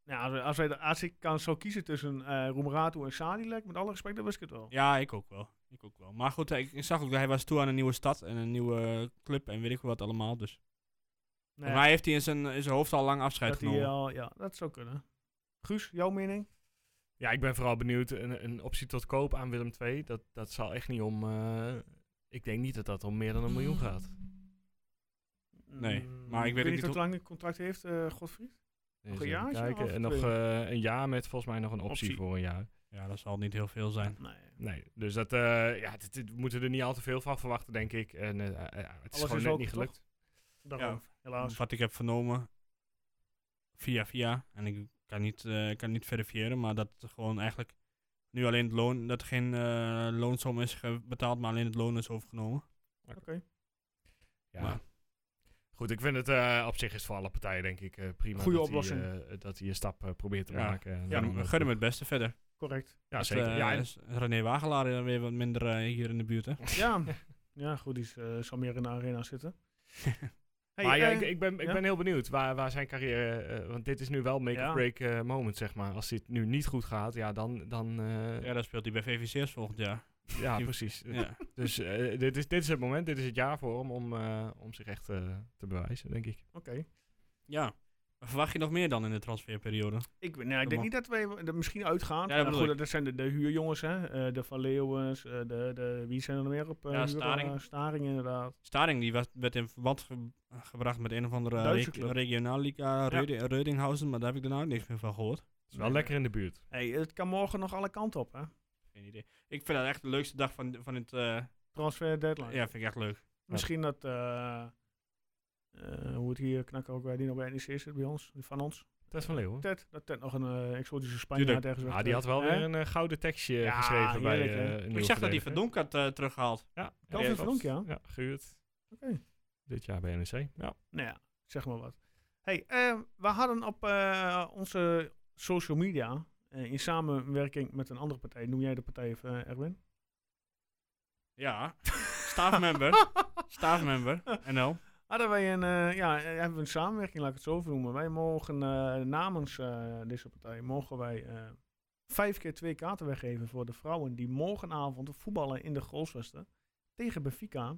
Speaker 1: Nou, als, wij- als, wij, de- als ik kan zo kiezen tussen eh Roemerato en Sadilek, met alle respect, dan wist ik het wel.
Speaker 6: Ja, ik ook wel. Ik ook wel. Maar goed, eh, ik, ik zag ook dat hij was toe aan een nieuwe stad en een nieuwe club en weet ik wat allemaal. Dus
Speaker 1: Nee,
Speaker 6: Volgens mij heeft hij in zijn, in zijn hoofd al lang afscheid
Speaker 1: dat,
Speaker 6: genomen.
Speaker 1: hij al, ja, dat zou kunnen. Guus, jouw mening?
Speaker 2: Ja, ik ben vooral benieuwd. Een, een optie tot koop aan Willem II, dat, dat zal echt niet om... eh, ik denk niet dat dat om meer dan een miljoen gaat. Dus
Speaker 6: Nee,
Speaker 1: Mm,
Speaker 6: maar ik weet ook
Speaker 1: niet
Speaker 6: niet
Speaker 1: hoe
Speaker 6: hoe-
Speaker 1: lang het contract heeft, eh Godfried.
Speaker 2: Eens
Speaker 1: een
Speaker 2: even
Speaker 1: jaartje
Speaker 2: kijken.
Speaker 1: of
Speaker 2: En nog
Speaker 1: twee?
Speaker 2: eh, een jaar met volgens mij nog een optie,
Speaker 1: Optie.
Speaker 2: voor een jaar.
Speaker 1: eh,
Speaker 6: Ja, dat zal niet heel veel zijn.
Speaker 1: Nee.
Speaker 2: Nee, dus dat, eh, ja, dit- dit- we moeten er niet al te veel van verwachten, denk ik. En eh, eh, eh, het is
Speaker 1: Alles
Speaker 2: gewoon
Speaker 1: is
Speaker 2: net
Speaker 1: ook
Speaker 2: niet gelukt.
Speaker 1: Daarom, helaas.
Speaker 6: Wat ik heb vernomen, via via, en ik kan niet, eh, kan niet verifiëren, maar dat het gewoon eigenlijk nu alleen het loon, dat er geen eh, loonsom is ge- betaald, maar alleen het loon is overgenomen.
Speaker 2: Ja.
Speaker 6: Maar-
Speaker 2: Goed, ik vind het eh, op zich is het voor alle partijen denk ik eh, prima.
Speaker 1: Goeie
Speaker 2: dat
Speaker 1: oplossing.
Speaker 2: Hij, eh, dat hij een stap eh, probeert te
Speaker 6: Ja.
Speaker 2: maken. En
Speaker 6: Ja,
Speaker 2: dan, eh,
Speaker 6: gun hem het beste verder.
Speaker 1: Correct.
Speaker 2: Ja,
Speaker 6: Dat,
Speaker 2: zeker.
Speaker 6: eh,
Speaker 2: ja, en-
Speaker 6: is René Wagelaar dan weer wat minder eh, hier in de buurt, hè?
Speaker 1: Ja, [laughs] ja goed, die is, eh, zal meer in de arena
Speaker 6: [laughs]
Speaker 1: zitten. Hey,
Speaker 2: maar ja,
Speaker 1: eh,
Speaker 2: ik, ik, ben, ik
Speaker 1: ja?
Speaker 2: ben heel benieuwd waar, waar zijn carrière... eh, want dit is nu wel make
Speaker 1: Ja.
Speaker 2: or break eh, moment, zeg maar. Als dit nu niet goed gaat, ja, dan... dan eh,
Speaker 6: Ja,
Speaker 2: ja,
Speaker 6: dan speelt hij bij VVCS volgend jaar.
Speaker 2: precies.
Speaker 6: Ja.
Speaker 2: Dus eh, dit, is, dit is het moment, dit is het jaar voor hem om, eh, om zich echt eh, te bewijzen, denk ik.
Speaker 1: Oké.
Speaker 6: ja. Verwacht je nog meer dan in de transferperiode?
Speaker 1: Ik, weet- nou, ik denk
Speaker 6: mag.
Speaker 1: niet dat wij er misschien uitgaan.
Speaker 6: Ja, dat
Speaker 1: Ja,
Speaker 6: bedoel
Speaker 1: goed,
Speaker 6: ik.
Speaker 1: dat zijn de, de huurjongens, hè. eh, de Van Leeuwens, eh, de, de, wie zijn er nog meer op? eh,
Speaker 6: Ja,
Speaker 1: huur?
Speaker 6: Staring.
Speaker 1: Eh, Staring, inderdaad.
Speaker 6: Staring die was, werd in verband ge- gebracht met een of andere eh,
Speaker 1: Duitse
Speaker 6: reg-
Speaker 1: club.
Speaker 6: regionalliga Reude- Reudinghausen, maar daar heb ik daarna ook niks meer van gehoord.
Speaker 2: Het is wel lekker in de buurt.
Speaker 1: Hey, het kan morgen nog alle kanten op, hè.
Speaker 6: Geen idee. Ik vind dat echt de leukste dag van, van het... eh,
Speaker 1: Transfer deadline.
Speaker 6: ja, vind ik echt leuk.
Speaker 1: Misschien dat, eh, eh, hoe het hier knakken ook bij die nog bij NEC zit bij ons, van ons.
Speaker 2: Tess van Leeuwen.
Speaker 1: Ted, dat Ted nog een eh, exotische Spanjaard ergens
Speaker 2: Ah,
Speaker 1: weg-
Speaker 2: die had wel weer
Speaker 1: Hè?
Speaker 2: een eh, gouden tekstje
Speaker 1: Ja,
Speaker 2: geschreven bij
Speaker 1: heerlijk,
Speaker 2: eh,
Speaker 1: hè?
Speaker 2: een nieuwe
Speaker 6: ik zag dat hij
Speaker 2: verdediger.
Speaker 6: Van Donk had eh, teruggehaald.
Speaker 2: Ja,
Speaker 1: Calvin
Speaker 2: ja,
Speaker 1: van
Speaker 2: klopt.
Speaker 1: Donk, ja?
Speaker 2: Ja, gehuurd.
Speaker 1: Oké.
Speaker 2: Dit jaar bij NEC. Ja.
Speaker 1: Nou ja, zeg maar wat. Hey, eh, we hadden op eh, onze social media, eh, in samenwerking met een andere partij, noem jij de partij even, eh, Erwin?
Speaker 6: Ja. Staafmember.
Speaker 1: [laughs]
Speaker 6: Staafmember. NL.
Speaker 1: Hadden wij een, eh, ja, eh, hebben we een samenwerking, laat ik het zo noemen. Wij mogen eh, namens eh, deze partij, mogen wij eh, vijf keer twee kaarten weggeven voor de vrouwen die morgenavond voetballen in de Goalswesten tegen Benfica,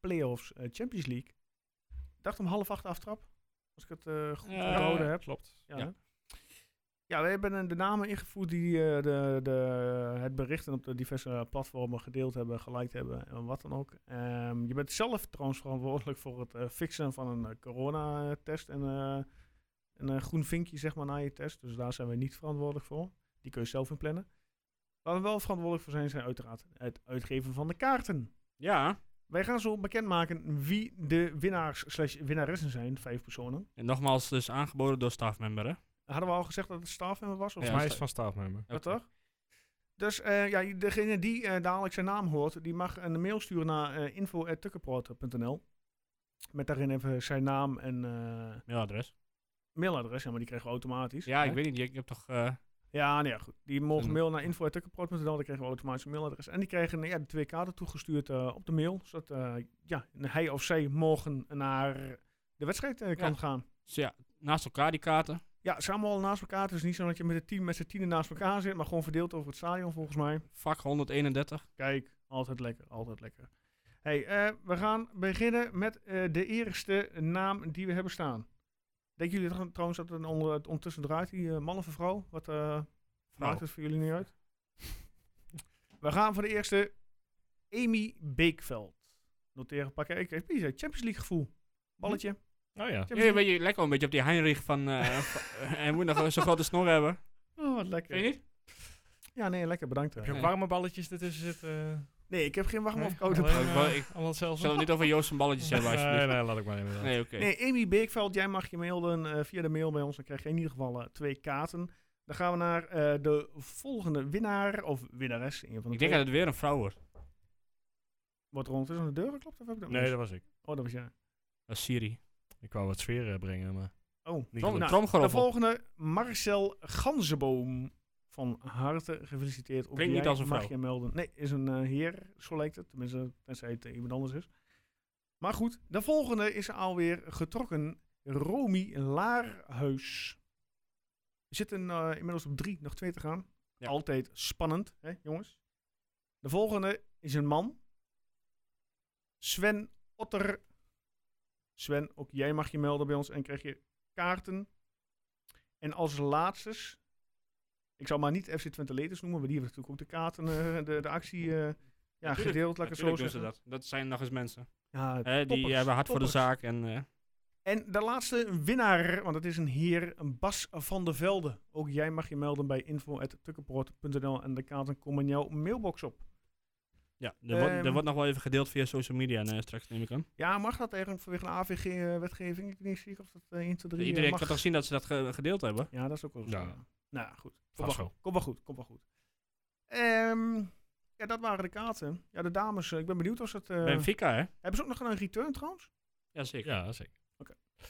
Speaker 1: playoffs, eh, Champions League. Ik dacht om half acht aftrap, als ik het eh, goed
Speaker 6: Ja,
Speaker 1: onthouden heb.
Speaker 2: Klopt.
Speaker 1: Ja.
Speaker 6: Ja.
Speaker 1: hè? Ja, we hebben eh, de namen ingevoerd die eh, de, de, het berichten op de diverse platformen gedeeld hebben, geliked hebben en wat dan ook. Ehm, je bent zelf trouwens verantwoordelijk voor het eh, fixen van een eh, coronatest en eh, een eh, groen vinkje zeg maar na je test. Dus daar zijn we niet verantwoordelijk voor. Die kun je zelf inplannen. Waar we wel verantwoordelijk voor zijn, zijn uiteraard het uitgeven van de kaarten.
Speaker 6: Ja.
Speaker 1: Wij gaan zo bekendmaken wie de winnaars slash winnaressen zijn, vijf personen.
Speaker 6: En nogmaals, dus aangeboden door Staafmember, hè?
Speaker 1: Hadden we al gezegd dat het staafmember was? Of
Speaker 2: Volgens
Speaker 6: Ja,
Speaker 2: mij is
Speaker 6: sta-
Speaker 2: het van staafmember.
Speaker 1: Ja, toch? Dus eh, ja, degene die eh, dadelijk zijn naam hoort, die mag een mail sturen naar eh info.tukkenproot.nl. Met daarin even zijn naam en eh,
Speaker 6: Mailadres.
Speaker 1: mailadres. Ja, maar die kregen we automatisch.
Speaker 6: Ja, ik
Speaker 1: Hè?
Speaker 6: weet niet. Je, je hebt toch... eh,
Speaker 1: Ja, nee, ja, goed. Die mogen
Speaker 6: Een-
Speaker 1: mail naar info.tukkenproot.nl. Dan kregen we automatisch een mailadres. En die kregen eh, ja, de twee kaarten toegestuurd eh, op de mail. Zodat eh, ja, hij of zij morgen naar de wedstrijd eh, kan
Speaker 6: Ja.
Speaker 1: gaan.
Speaker 6: dus ja, naast elkaar die kaarten.
Speaker 1: Ja, ze allemaal naast elkaar. Het is niet zo dat je met, het team, met z'n tienen naast elkaar zit. Maar gewoon verdeeld over het stadion volgens mij.
Speaker 6: Vak 131.
Speaker 1: Kijk, altijd lekker, altijd lekker. hey, eh, we gaan beginnen met eh, de eerste naam die we hebben staan. Denken jullie tr- trouwens dat het een onder- het ondertussen draait, die eh, man of een vrouw? Wat eh, maakt het voor jullie nu [laughs] uit? we gaan voor de eerste Amy Beekveld. Noteren, pakken. Ik heb hier Champions League gevoel. Balletje.
Speaker 2: Oh ja.
Speaker 1: Champions
Speaker 6: Ja, een
Speaker 1: League.
Speaker 6: beetje lekker, een beetje op die Heinrich
Speaker 1: [laughs]
Speaker 6: van... eh, van- en moet nog zo'n grote snor hebben.
Speaker 1: Oh, wat lekker.
Speaker 6: Weet je niet?
Speaker 1: Ja, nee, lekker. Bedankt.
Speaker 2: Heb
Speaker 1: hè.
Speaker 2: je ook
Speaker 6: Nee.
Speaker 2: warme balletjes ertussen zitten?
Speaker 1: Nee, ik heb geen warm
Speaker 2: Nee,
Speaker 1: of koude
Speaker 2: alleen,
Speaker 6: bal.
Speaker 2: eh,
Speaker 6: Wel, ik-
Speaker 2: allemaal hetzelfde.
Speaker 6: Zullen we het niet over Joost en balletjes hebben,
Speaker 2: Nee,
Speaker 6: alsjeblieft?
Speaker 2: nee, laat ik maar inderdaad.
Speaker 6: Nee, oké.
Speaker 1: Nee, Amy Beekveld, jij mag je melden eh, via de mail bij ons. Dan krijg je in ieder geval eh, twee kaarten. Dan gaan we naar eh, de volgende winnaar of winnares. Een van de
Speaker 6: Ik denk dat het weer een vrouw wordt.
Speaker 1: Wat rond is aan de deur geklopt? Of heb ik dat
Speaker 2: Nee,
Speaker 1: mis?
Speaker 2: dat was ik.
Speaker 1: Oh, dat was jij.
Speaker 6: Dat is Siri.
Speaker 2: Ik wou wat sfeer eh, brengen, maar...
Speaker 1: Oh,
Speaker 2: Niet
Speaker 6: Trom,
Speaker 2: gelukt.
Speaker 1: de
Speaker 6: tromgeroffel.
Speaker 1: volgende, Marcel Ganzenboom. Van harte gefeliciteerd. Ook
Speaker 6: Klinkt niet
Speaker 1: jij
Speaker 6: als een
Speaker 1: mag
Speaker 6: vrouw.
Speaker 1: je melden. Nee, is een eh, heer, zo lijkt het. Tenminste, tenzij het eh, iemand anders is. Maar goed, de volgende is alweer getrokken. Romy Laarhuis. We zitten eh, inmiddels op drie, nog twee te gaan.
Speaker 6: Ja.
Speaker 1: Altijd spannend, hè, jongens. De volgende is een man. Sven Otter. Sven, ook jij mag je melden bij ons en krijg je kaarten. En als laatste, ik zal maar niet FC Twente Letters noemen, maar die hebben natuurlijk ook de kaarten, eh, de, de actie eh, ja, gedeeld, laat ik het zo
Speaker 6: Natuurlijk doen ze
Speaker 1: zeggen.
Speaker 6: dat. Dat zijn nog eens mensen.
Speaker 1: Ja,
Speaker 6: Hè, die eh,
Speaker 1: toppers,
Speaker 6: hebben hard voor de
Speaker 1: toppers.
Speaker 6: zaak en... eh,
Speaker 1: En de laatste winnaar, want het is een heer, een Bas van der Velde. Ook jij mag je melden bij info.tukkenpoort.nl en de kaarten komen in jouw mailbox op.
Speaker 6: Ja, er, wordt,
Speaker 1: Ehm.
Speaker 6: er wordt nog wel even gedeeld via social media en, eh, straks, neem ik aan.
Speaker 1: Ja, mag dat eigenlijk vanwege de AVG-wetgeving? eh, Ik weet niet zeker of dat eh, 1, 2, 3
Speaker 6: Iedereen
Speaker 1: mag.
Speaker 6: kan toch zien dat ze dat ge- gedeeld hebben?
Speaker 1: Ja, dat is ook wel zo.
Speaker 2: Ja.
Speaker 1: ja. Nou ja, goed. Kom
Speaker 2: Vast
Speaker 1: maar,
Speaker 2: wel.
Speaker 1: kom maar goed, kom maar goed. Ehm, ja, dat waren de kaarten. Ja, de dames, eh, ik ben benieuwd of ze het... eh,
Speaker 6: Benfica, hè?
Speaker 1: hebben ze ook nog een return trouwens?
Speaker 6: Jazeker.
Speaker 2: Ja, zeker.
Speaker 1: Oké.
Speaker 2: Nou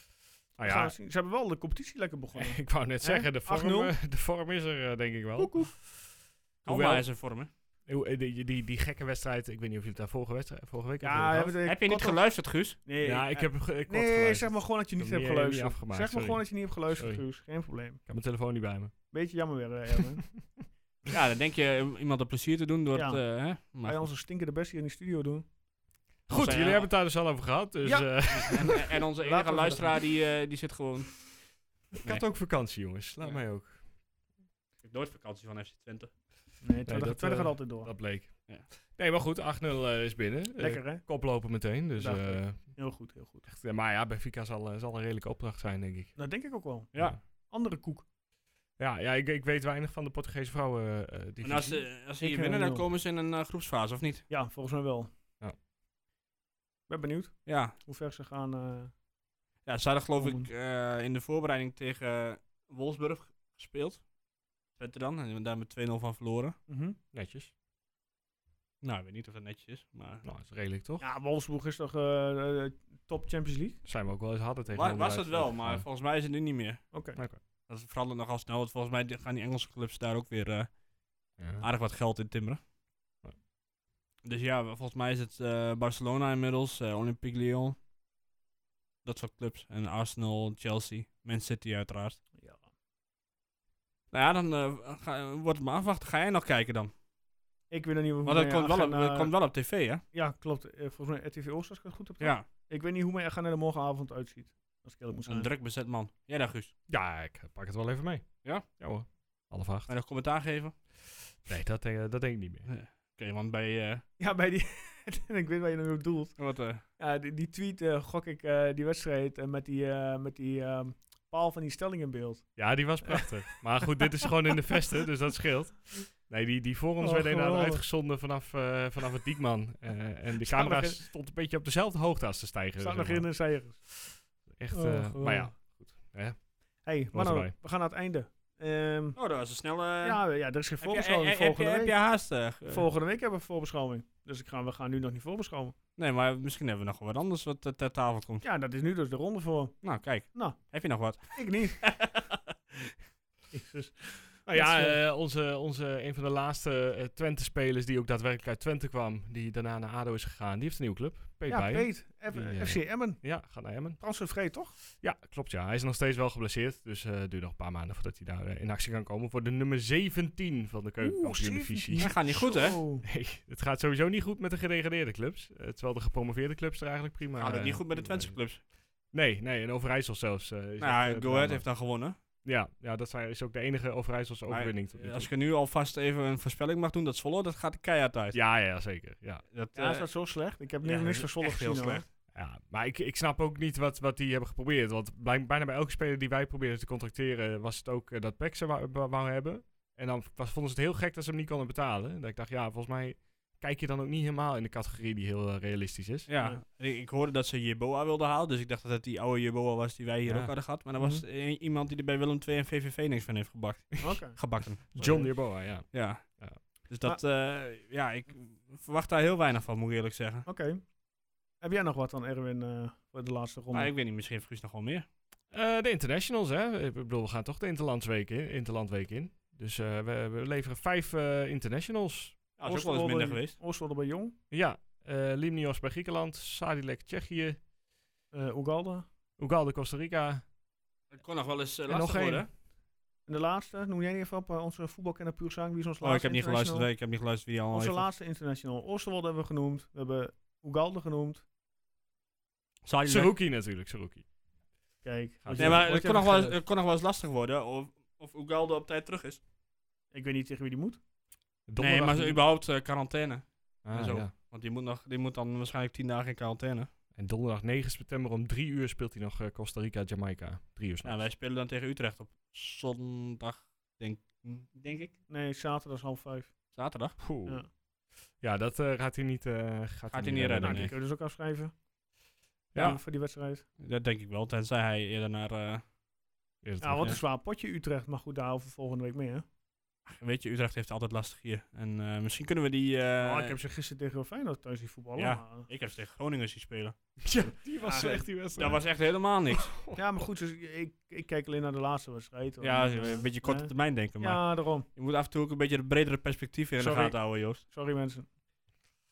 Speaker 1: Ze
Speaker 2: ja, Eh,
Speaker 1: gaan zien. Ze hebben wel de competitie lekker begonnen.
Speaker 2: [laughs] ik wou net
Speaker 1: Hè?
Speaker 2: zeggen, de
Speaker 1: 8-0.
Speaker 2: vorm, eh, de vorm is er eh, denk ik wel.
Speaker 1: Koekoek.
Speaker 6: Alma is in vorm, hè?
Speaker 2: Hoe- eh, Die, die, die gekke wedstrijd, ik weet niet of jullie het daar vorige, wedstrijd, vorige week over
Speaker 1: Ja,
Speaker 2: gehad.
Speaker 1: hebben de
Speaker 6: Heb je niet
Speaker 1: Kotter-
Speaker 6: geluisterd, Guus?
Speaker 1: Nee,
Speaker 2: ja, ik
Speaker 1: eh,
Speaker 2: heb ge- ik had
Speaker 1: Nee,
Speaker 2: geluisterd.
Speaker 1: zeg maar gewoon dat je
Speaker 2: Ik
Speaker 1: niet
Speaker 2: heb
Speaker 1: hebt
Speaker 2: hem niet-
Speaker 1: geluisterd.
Speaker 2: niet
Speaker 1: zeg
Speaker 2: afgemaakt,
Speaker 1: maar
Speaker 2: sorry.
Speaker 1: gewoon dat je niet hebt geluisterd,
Speaker 2: Sorry.
Speaker 1: Guus. Geen probleem.
Speaker 2: Ik heb mijn telefoon niet bij me.
Speaker 1: Beetje jammer weer, eh,
Speaker 2: [laughs]
Speaker 1: Erwin.
Speaker 6: Ja, dan denk je eh, iemand een plezier te doen door
Speaker 1: Ja.
Speaker 6: het... eh, hè?
Speaker 1: Wij
Speaker 6: Maar
Speaker 1: onze stinkende best hier in de studio doen.
Speaker 2: Goed,
Speaker 6: eh,
Speaker 2: jullie hebben het daar dus al over gehad. Dus
Speaker 1: Ja.
Speaker 2: eh,
Speaker 6: en, en
Speaker 1: Laten
Speaker 6: onze
Speaker 1: we
Speaker 6: enige
Speaker 1: verder
Speaker 6: luisteraar, die, eh, die zit gewoon...
Speaker 2: ik had ook vakantie, jongens. Laat
Speaker 6: Ja.
Speaker 2: mij ook.
Speaker 6: Ik heb nooit vakantie van FC Twente.
Speaker 1: Nee, Twente
Speaker 2: dat,
Speaker 1: Twente gaat
Speaker 2: eh,
Speaker 1: altijd door.
Speaker 2: Dat bleek.
Speaker 6: Ja.
Speaker 2: Nee, maar goed, 8-0 eh, is binnen. Eh,
Speaker 1: Lekker, hè?
Speaker 2: koplopen meteen. Dus,
Speaker 1: Dacht ik.
Speaker 2: eh,
Speaker 1: Heel goed, heel goed.
Speaker 2: echt, eh, maar ja, Benfica zal, eh, zal een redelijke opdracht zijn, denk ik.
Speaker 1: Dat denk ik ook wel.
Speaker 6: Ja.
Speaker 1: Andere koek.
Speaker 2: Ja, ja ik, ik weet weinig van de Portugese vrouwen. eh
Speaker 6: En
Speaker 2: divisie.
Speaker 6: als ze, als ze
Speaker 1: Ik,
Speaker 6: hier
Speaker 1: eh,
Speaker 6: winnen, dan
Speaker 1: nul.
Speaker 6: komen ze in een eh, groepsfase, of niet?
Speaker 1: Ja, volgens mij wel.
Speaker 2: Ja.
Speaker 1: Ik ben benieuwd
Speaker 6: Ja.
Speaker 1: hoe ver ze gaan. eh,
Speaker 6: Ja, ze hadden geloof
Speaker 1: Om-
Speaker 6: ik eh, in de voorbereiding tegen eh, Wolfsburg gespeeld. Twente dan. En daar met 2-0 van verloren.
Speaker 1: mhm.
Speaker 2: Netjes.
Speaker 6: Nou, ik weet niet of dat netjes is, maar...
Speaker 2: Nou, dat is redelijk, toch?
Speaker 1: Ja, Wolfsburg is toch eh, eh, top Champions League?
Speaker 2: Zijn we ook wel eens harder tegen
Speaker 6: Wa- was dat wel,
Speaker 2: uitgelegd,
Speaker 6: maar volgens mij is het nu niet meer.
Speaker 1: Oké.
Speaker 2: Oké.
Speaker 6: Dat verandert nogal snel, want volgens mij gaan die Engelse clubs daar ook weer eh,
Speaker 2: Ja.
Speaker 6: aardig wat geld in timmeren.
Speaker 2: Ja.
Speaker 6: Dus ja, volgens mij is het eh, Barcelona inmiddels, eh, Olympique Lyon. Dat soort clubs. En Arsenal, Chelsea, Man City uiteraard.
Speaker 1: Ja.
Speaker 6: Nou ja, dan eh, ga- wordt het maar afwachten. Ga jij nog kijken dan?
Speaker 1: Ik weet nog niet hoe
Speaker 6: Want dat
Speaker 1: mijn
Speaker 6: komt wel, op,
Speaker 1: agenda-
Speaker 6: dat komt wel op tv, hè?
Speaker 1: eh, Ja, klopt. Eh, volgens mij RTV Oost, als ik het goed heb.
Speaker 6: Ja,
Speaker 1: Ik weet niet hoe mijn agenda er morgenavond uitziet. Als ik eerlijk moet zijn.
Speaker 6: een druk bezet man. Jij daar, Guus.
Speaker 2: ja, ik eh, pak het wel even mee.
Speaker 6: Ja?
Speaker 2: Ja hoor. Half acht.
Speaker 6: Ga je nog commentaar geven?
Speaker 2: Nee, dat denk, dat denk ik niet meer.
Speaker 6: Oké, want bij... eh,
Speaker 1: Ja, bij die... [laughs] ik weet waar je nu op doelt.
Speaker 6: wat, eh,
Speaker 1: Ja, die, die tweet eh, gok ik eh, die wedstrijd eh, met die, eh, met die ehm, paal van die stelling in beeld.
Speaker 2: Ja, die was
Speaker 1: [laughs]
Speaker 2: prachtig. maar goed, dit is gewoon in de vesten, dus dat scheelt. Nee, die, die voor ons
Speaker 1: Oh,
Speaker 2: werd inderdaad
Speaker 1: geweldig.
Speaker 2: uitgezonden vanaf, eh, vanaf het Diekman. Eh, en de
Speaker 1: Staat
Speaker 2: camera
Speaker 1: nog in-
Speaker 2: stond een beetje op dezelfde hoogte als de stijger.
Speaker 1: Staat
Speaker 2: zeg
Speaker 1: nog in
Speaker 2: maar.
Speaker 1: de cijfers.
Speaker 2: Echt,
Speaker 1: Oh,
Speaker 2: eh,
Speaker 1: geweldig.
Speaker 2: maar ja.
Speaker 1: hey, Manno,
Speaker 2: erbij.
Speaker 1: we gaan naar het einde. Ehm,
Speaker 6: Oh, dat was een snelle...
Speaker 1: ja, ja, er is geen
Speaker 6: Heb je-
Speaker 1: voorbeschouwing
Speaker 6: eh, eh, heb je-
Speaker 1: volgende
Speaker 6: Heb je
Speaker 1: week.
Speaker 6: haast? eh, ge-
Speaker 1: Volgende week hebben we voorbeschouwing. Dus ik ga, we gaan nu nog niet voorbeschouwen.
Speaker 6: Nee, maar misschien hebben we nog wat anders wat eh, ter tafel komt.
Speaker 1: Ja, dat is nu dus de ronde voor.
Speaker 6: Nou, kijk.
Speaker 1: Nou.
Speaker 6: Heb je nog wat?
Speaker 1: Ik
Speaker 6: [laughs]
Speaker 1: niet. Jezus.
Speaker 2: Nou ja,
Speaker 1: Dat is,
Speaker 2: eh, onze, onze, een van de laatste eh, Twente-spelers die ook daadwerkelijk uit Twente kwam, die daarna naar ADO is gegaan, die heeft een nieuw club. Peet
Speaker 1: ja,
Speaker 2: Beijen.
Speaker 1: Peet. F-
Speaker 2: Die, eh,
Speaker 1: FC Emmen.
Speaker 2: Ja, gaat naar Emmen.
Speaker 1: Transfervrij, toch?
Speaker 2: Ja, klopt ja. Hij is nog steeds wel geblesseerd, dus eh duurt nog een paar maanden voordat hij daar eh, in actie kan komen voor de nummer 17 van de keukenkampioen-divisie.
Speaker 6: Dat gaat niet goed, hè?
Speaker 1: Zo.
Speaker 2: Nee, het gaat sowieso niet goed met de gedegradeerde clubs. Eh, terwijl de gepromoveerde clubs er eigenlijk prima...
Speaker 6: Gaat het
Speaker 2: eh,
Speaker 6: niet goed met de Twentse
Speaker 2: eh,
Speaker 6: clubs?
Speaker 2: Nee, nee, en Overijssel zelfs. eh, is echt, eh,
Speaker 6: Nou, ja, Go
Speaker 2: drama.
Speaker 6: Ahead heeft dan gewonnen.
Speaker 2: Ja, ja dat zijn- is ook de enige Overijsselse
Speaker 6: Maar,
Speaker 2: overwinning tot nu
Speaker 6: eh,
Speaker 2: toe.
Speaker 6: Als ik er nu alvast even een voorspelling mag doen, dat Zwolle, dat gaat de keihard uit.
Speaker 2: Ja, ja, zeker. Ja.
Speaker 6: Dat,
Speaker 1: Ja, is
Speaker 6: eh,
Speaker 1: dat zo slecht? Ik heb
Speaker 6: ja,
Speaker 1: niks
Speaker 6: dat
Speaker 1: niks
Speaker 6: is
Speaker 1: van Zwolle
Speaker 6: echt heel
Speaker 1: gezien. hoor.
Speaker 6: slecht.
Speaker 2: Ja, maar ik, ik snap ook niet wat, wat die hebben geprobeerd. Want blij- bijna bij elke speler die wij probeerden te contracteren, was het ook eh, dat PEC ze wou, wou- wou hebben. En dan was, vonden ze het heel gek dat ze hem niet konden betalen. Dat ik dacht, ja, volgens mij kijk je dan ook niet helemaal in de categorie die heel eh, realistisch is.
Speaker 6: ja.
Speaker 1: Ja.
Speaker 6: Ik, ik hoorde dat ze Jeboa wilden halen, dus ik dacht dat het die oude Jeboa was die wij hier
Speaker 2: Ja.
Speaker 6: ook hadden gehad. Maar dat was
Speaker 2: Mhm.
Speaker 6: i- iemand die er bij Willem II en VVV niks van heeft gebakt,
Speaker 1: Oké.
Speaker 6: gebakken.
Speaker 2: John Jerboa, ja.
Speaker 6: Ja.
Speaker 2: Ja.
Speaker 6: Dus dat, eh, ja, ik verwacht daar heel weinig van, moet ik eerlijk zeggen.
Speaker 1: Oké. Heb jij nog wat dan, Erwin, eh, voor de laatste ronde?
Speaker 6: Maar Nou, ik weet niet, misschien heeft Guus nog wel meer.
Speaker 2: Eh, de internationals, hè. Ik bedoel, we gaan toch de Interlandweek in. Interlandweek in. Dus eh, we, we leveren vijf eh, internationals.
Speaker 6: Ja, dat is ook wel eens minder geweest.
Speaker 1: Oostwolde bij Jong.
Speaker 2: Ja, eh Limnios bij Griekenland, Sadilek Tsjechië,
Speaker 1: eh Ugalde.
Speaker 2: Ugalde Costa Rica.
Speaker 6: Het kon nog wel eens eh,
Speaker 2: En nog
Speaker 6: lastig
Speaker 2: één.
Speaker 6: worden.
Speaker 1: En de laatste, noem jij even op eh, onze voetbalkenner Puur Sang. Wie is ons
Speaker 6: Oh, ik
Speaker 1: laatste
Speaker 6: heb niet
Speaker 1: international?
Speaker 6: geluisterd. hè. Ik heb niet geluisterd wie al
Speaker 1: Onze
Speaker 6: heeft.
Speaker 1: laatste international. Oosterwolde hebben we genoemd. We hebben Ugalde genoemd.
Speaker 6: Zal je
Speaker 2: Saruki natuurlijk, Saruki.
Speaker 1: Kijk.
Speaker 2: Nee,
Speaker 6: Nee,
Speaker 1: je-
Speaker 6: maar
Speaker 1: wat
Speaker 6: het
Speaker 1: je
Speaker 6: kon, nog
Speaker 1: hebt
Speaker 6: wel eens,
Speaker 1: gezegd.
Speaker 6: het kon nog wel eens lastig worden of, of Ugalde op tijd terug is.
Speaker 1: Ik weet niet tegen wie die moet.
Speaker 6: Nee,
Speaker 2: Donderdag
Speaker 6: maar
Speaker 2: die-
Speaker 6: ze überhaupt eh, quarantaine.
Speaker 2: Ah,
Speaker 6: en zo.
Speaker 2: ja.
Speaker 6: Want die moet, nog, die moet dan waarschijnlijk tien dagen in quarantaine.
Speaker 2: En donderdag 9 september om 3 uur speelt hij nog eh, Costa Rica, Jamaica. 3 uur
Speaker 6: Ja,
Speaker 2: s'nachts.
Speaker 6: wij spelen dan tegen Utrecht op zondag, denk, denk ik.
Speaker 1: Nee, zaterdag is half vijf.
Speaker 6: Zaterdag.
Speaker 2: Poeh.
Speaker 1: Ja.
Speaker 2: ja. dat eh, gaat hij niet, eh, gaat hij
Speaker 6: hij niet redden,
Speaker 1: nou,
Speaker 6: nee.
Speaker 1: die kunnen we dus ook afschrijven.
Speaker 2: Ja.
Speaker 1: Ja. Voor die wedstrijd.
Speaker 6: Dat denk ik wel, tenzij hij eerder naar... eh,
Speaker 2: Eerder
Speaker 1: Ja,
Speaker 2: terug,
Speaker 1: wat
Speaker 2: ja.
Speaker 1: een zwaar potje Utrecht. Maar goed, daarover volgende week meer.
Speaker 6: weet je, Utrecht heeft het altijd lastig hier. En eh, misschien kunnen we die... eh,
Speaker 1: oh, ik heb ze gisteren tegen Feyenoord thuis die voetballen.
Speaker 6: Ja.
Speaker 1: maar-
Speaker 6: ik heb ze tegen Groningen zien [laughs] spelen.
Speaker 2: Ja, die was
Speaker 1: Ah,
Speaker 2: slecht, die wedstrijd.
Speaker 6: Dat was echt helemaal niks.
Speaker 1: Ja, maar goed, dus ik, ik kijk alleen naar de laatste wedstrijd. hoor.
Speaker 6: ja,
Speaker 1: Dus,
Speaker 6: een beetje
Speaker 1: eh,
Speaker 6: korte termijn denken, maar...
Speaker 1: Ja, daarom.
Speaker 6: Je moet af en toe ook een beetje het bredere perspectief in
Speaker 1: Sorry.
Speaker 6: de gaten houden, Joost.
Speaker 1: Sorry mensen.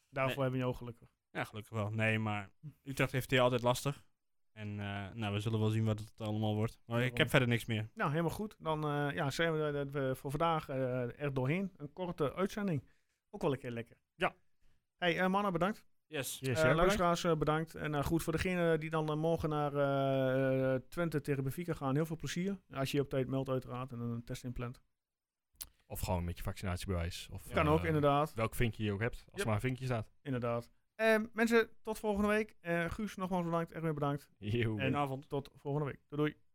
Speaker 1: Daarvoor hebben we je ook gelukkig.
Speaker 6: Ja, gelukkig wel. Nee, maar Utrecht heeft hier altijd lastig. En eh, nou, we zullen wel zien wat het allemaal wordt. Maar ik
Speaker 1: Daarom.
Speaker 6: heb verder niks meer.
Speaker 1: Nou, helemaal goed. Dan eh, ja, zijn we, dat we voor vandaag eh, er doorheen. Een korte uitzending. Ook wel een keer lekker.
Speaker 2: Ja.
Speaker 1: Hey, eh, mannen, bedankt.
Speaker 6: Yes.
Speaker 2: Yes,
Speaker 1: Eh,
Speaker 2: jij bedankt.
Speaker 1: luisteraars, eh, bedankt. En eh, goed, voor degenen die dan eh, morgen naar eh, Twente tegen Benfica gaan, heel veel plezier. Als je je op tijd meldt uiteraard en een test inplant.
Speaker 2: Of gewoon met je vaccinatiebewijs. Of,
Speaker 1: Kan
Speaker 2: eh,
Speaker 1: ook, inderdaad.
Speaker 2: Welk vinkje je ook hebt, als
Speaker 1: Yep.
Speaker 2: er maar een vinkje staat.
Speaker 1: Inderdaad. Eh, mensen, tot volgende week. Eh, Guus, nogmaals bedankt. Erwin, bedankt.
Speaker 2: Yo.
Speaker 1: En-
Speaker 6: Goedenavond.
Speaker 1: Tot volgende week. Doei doei.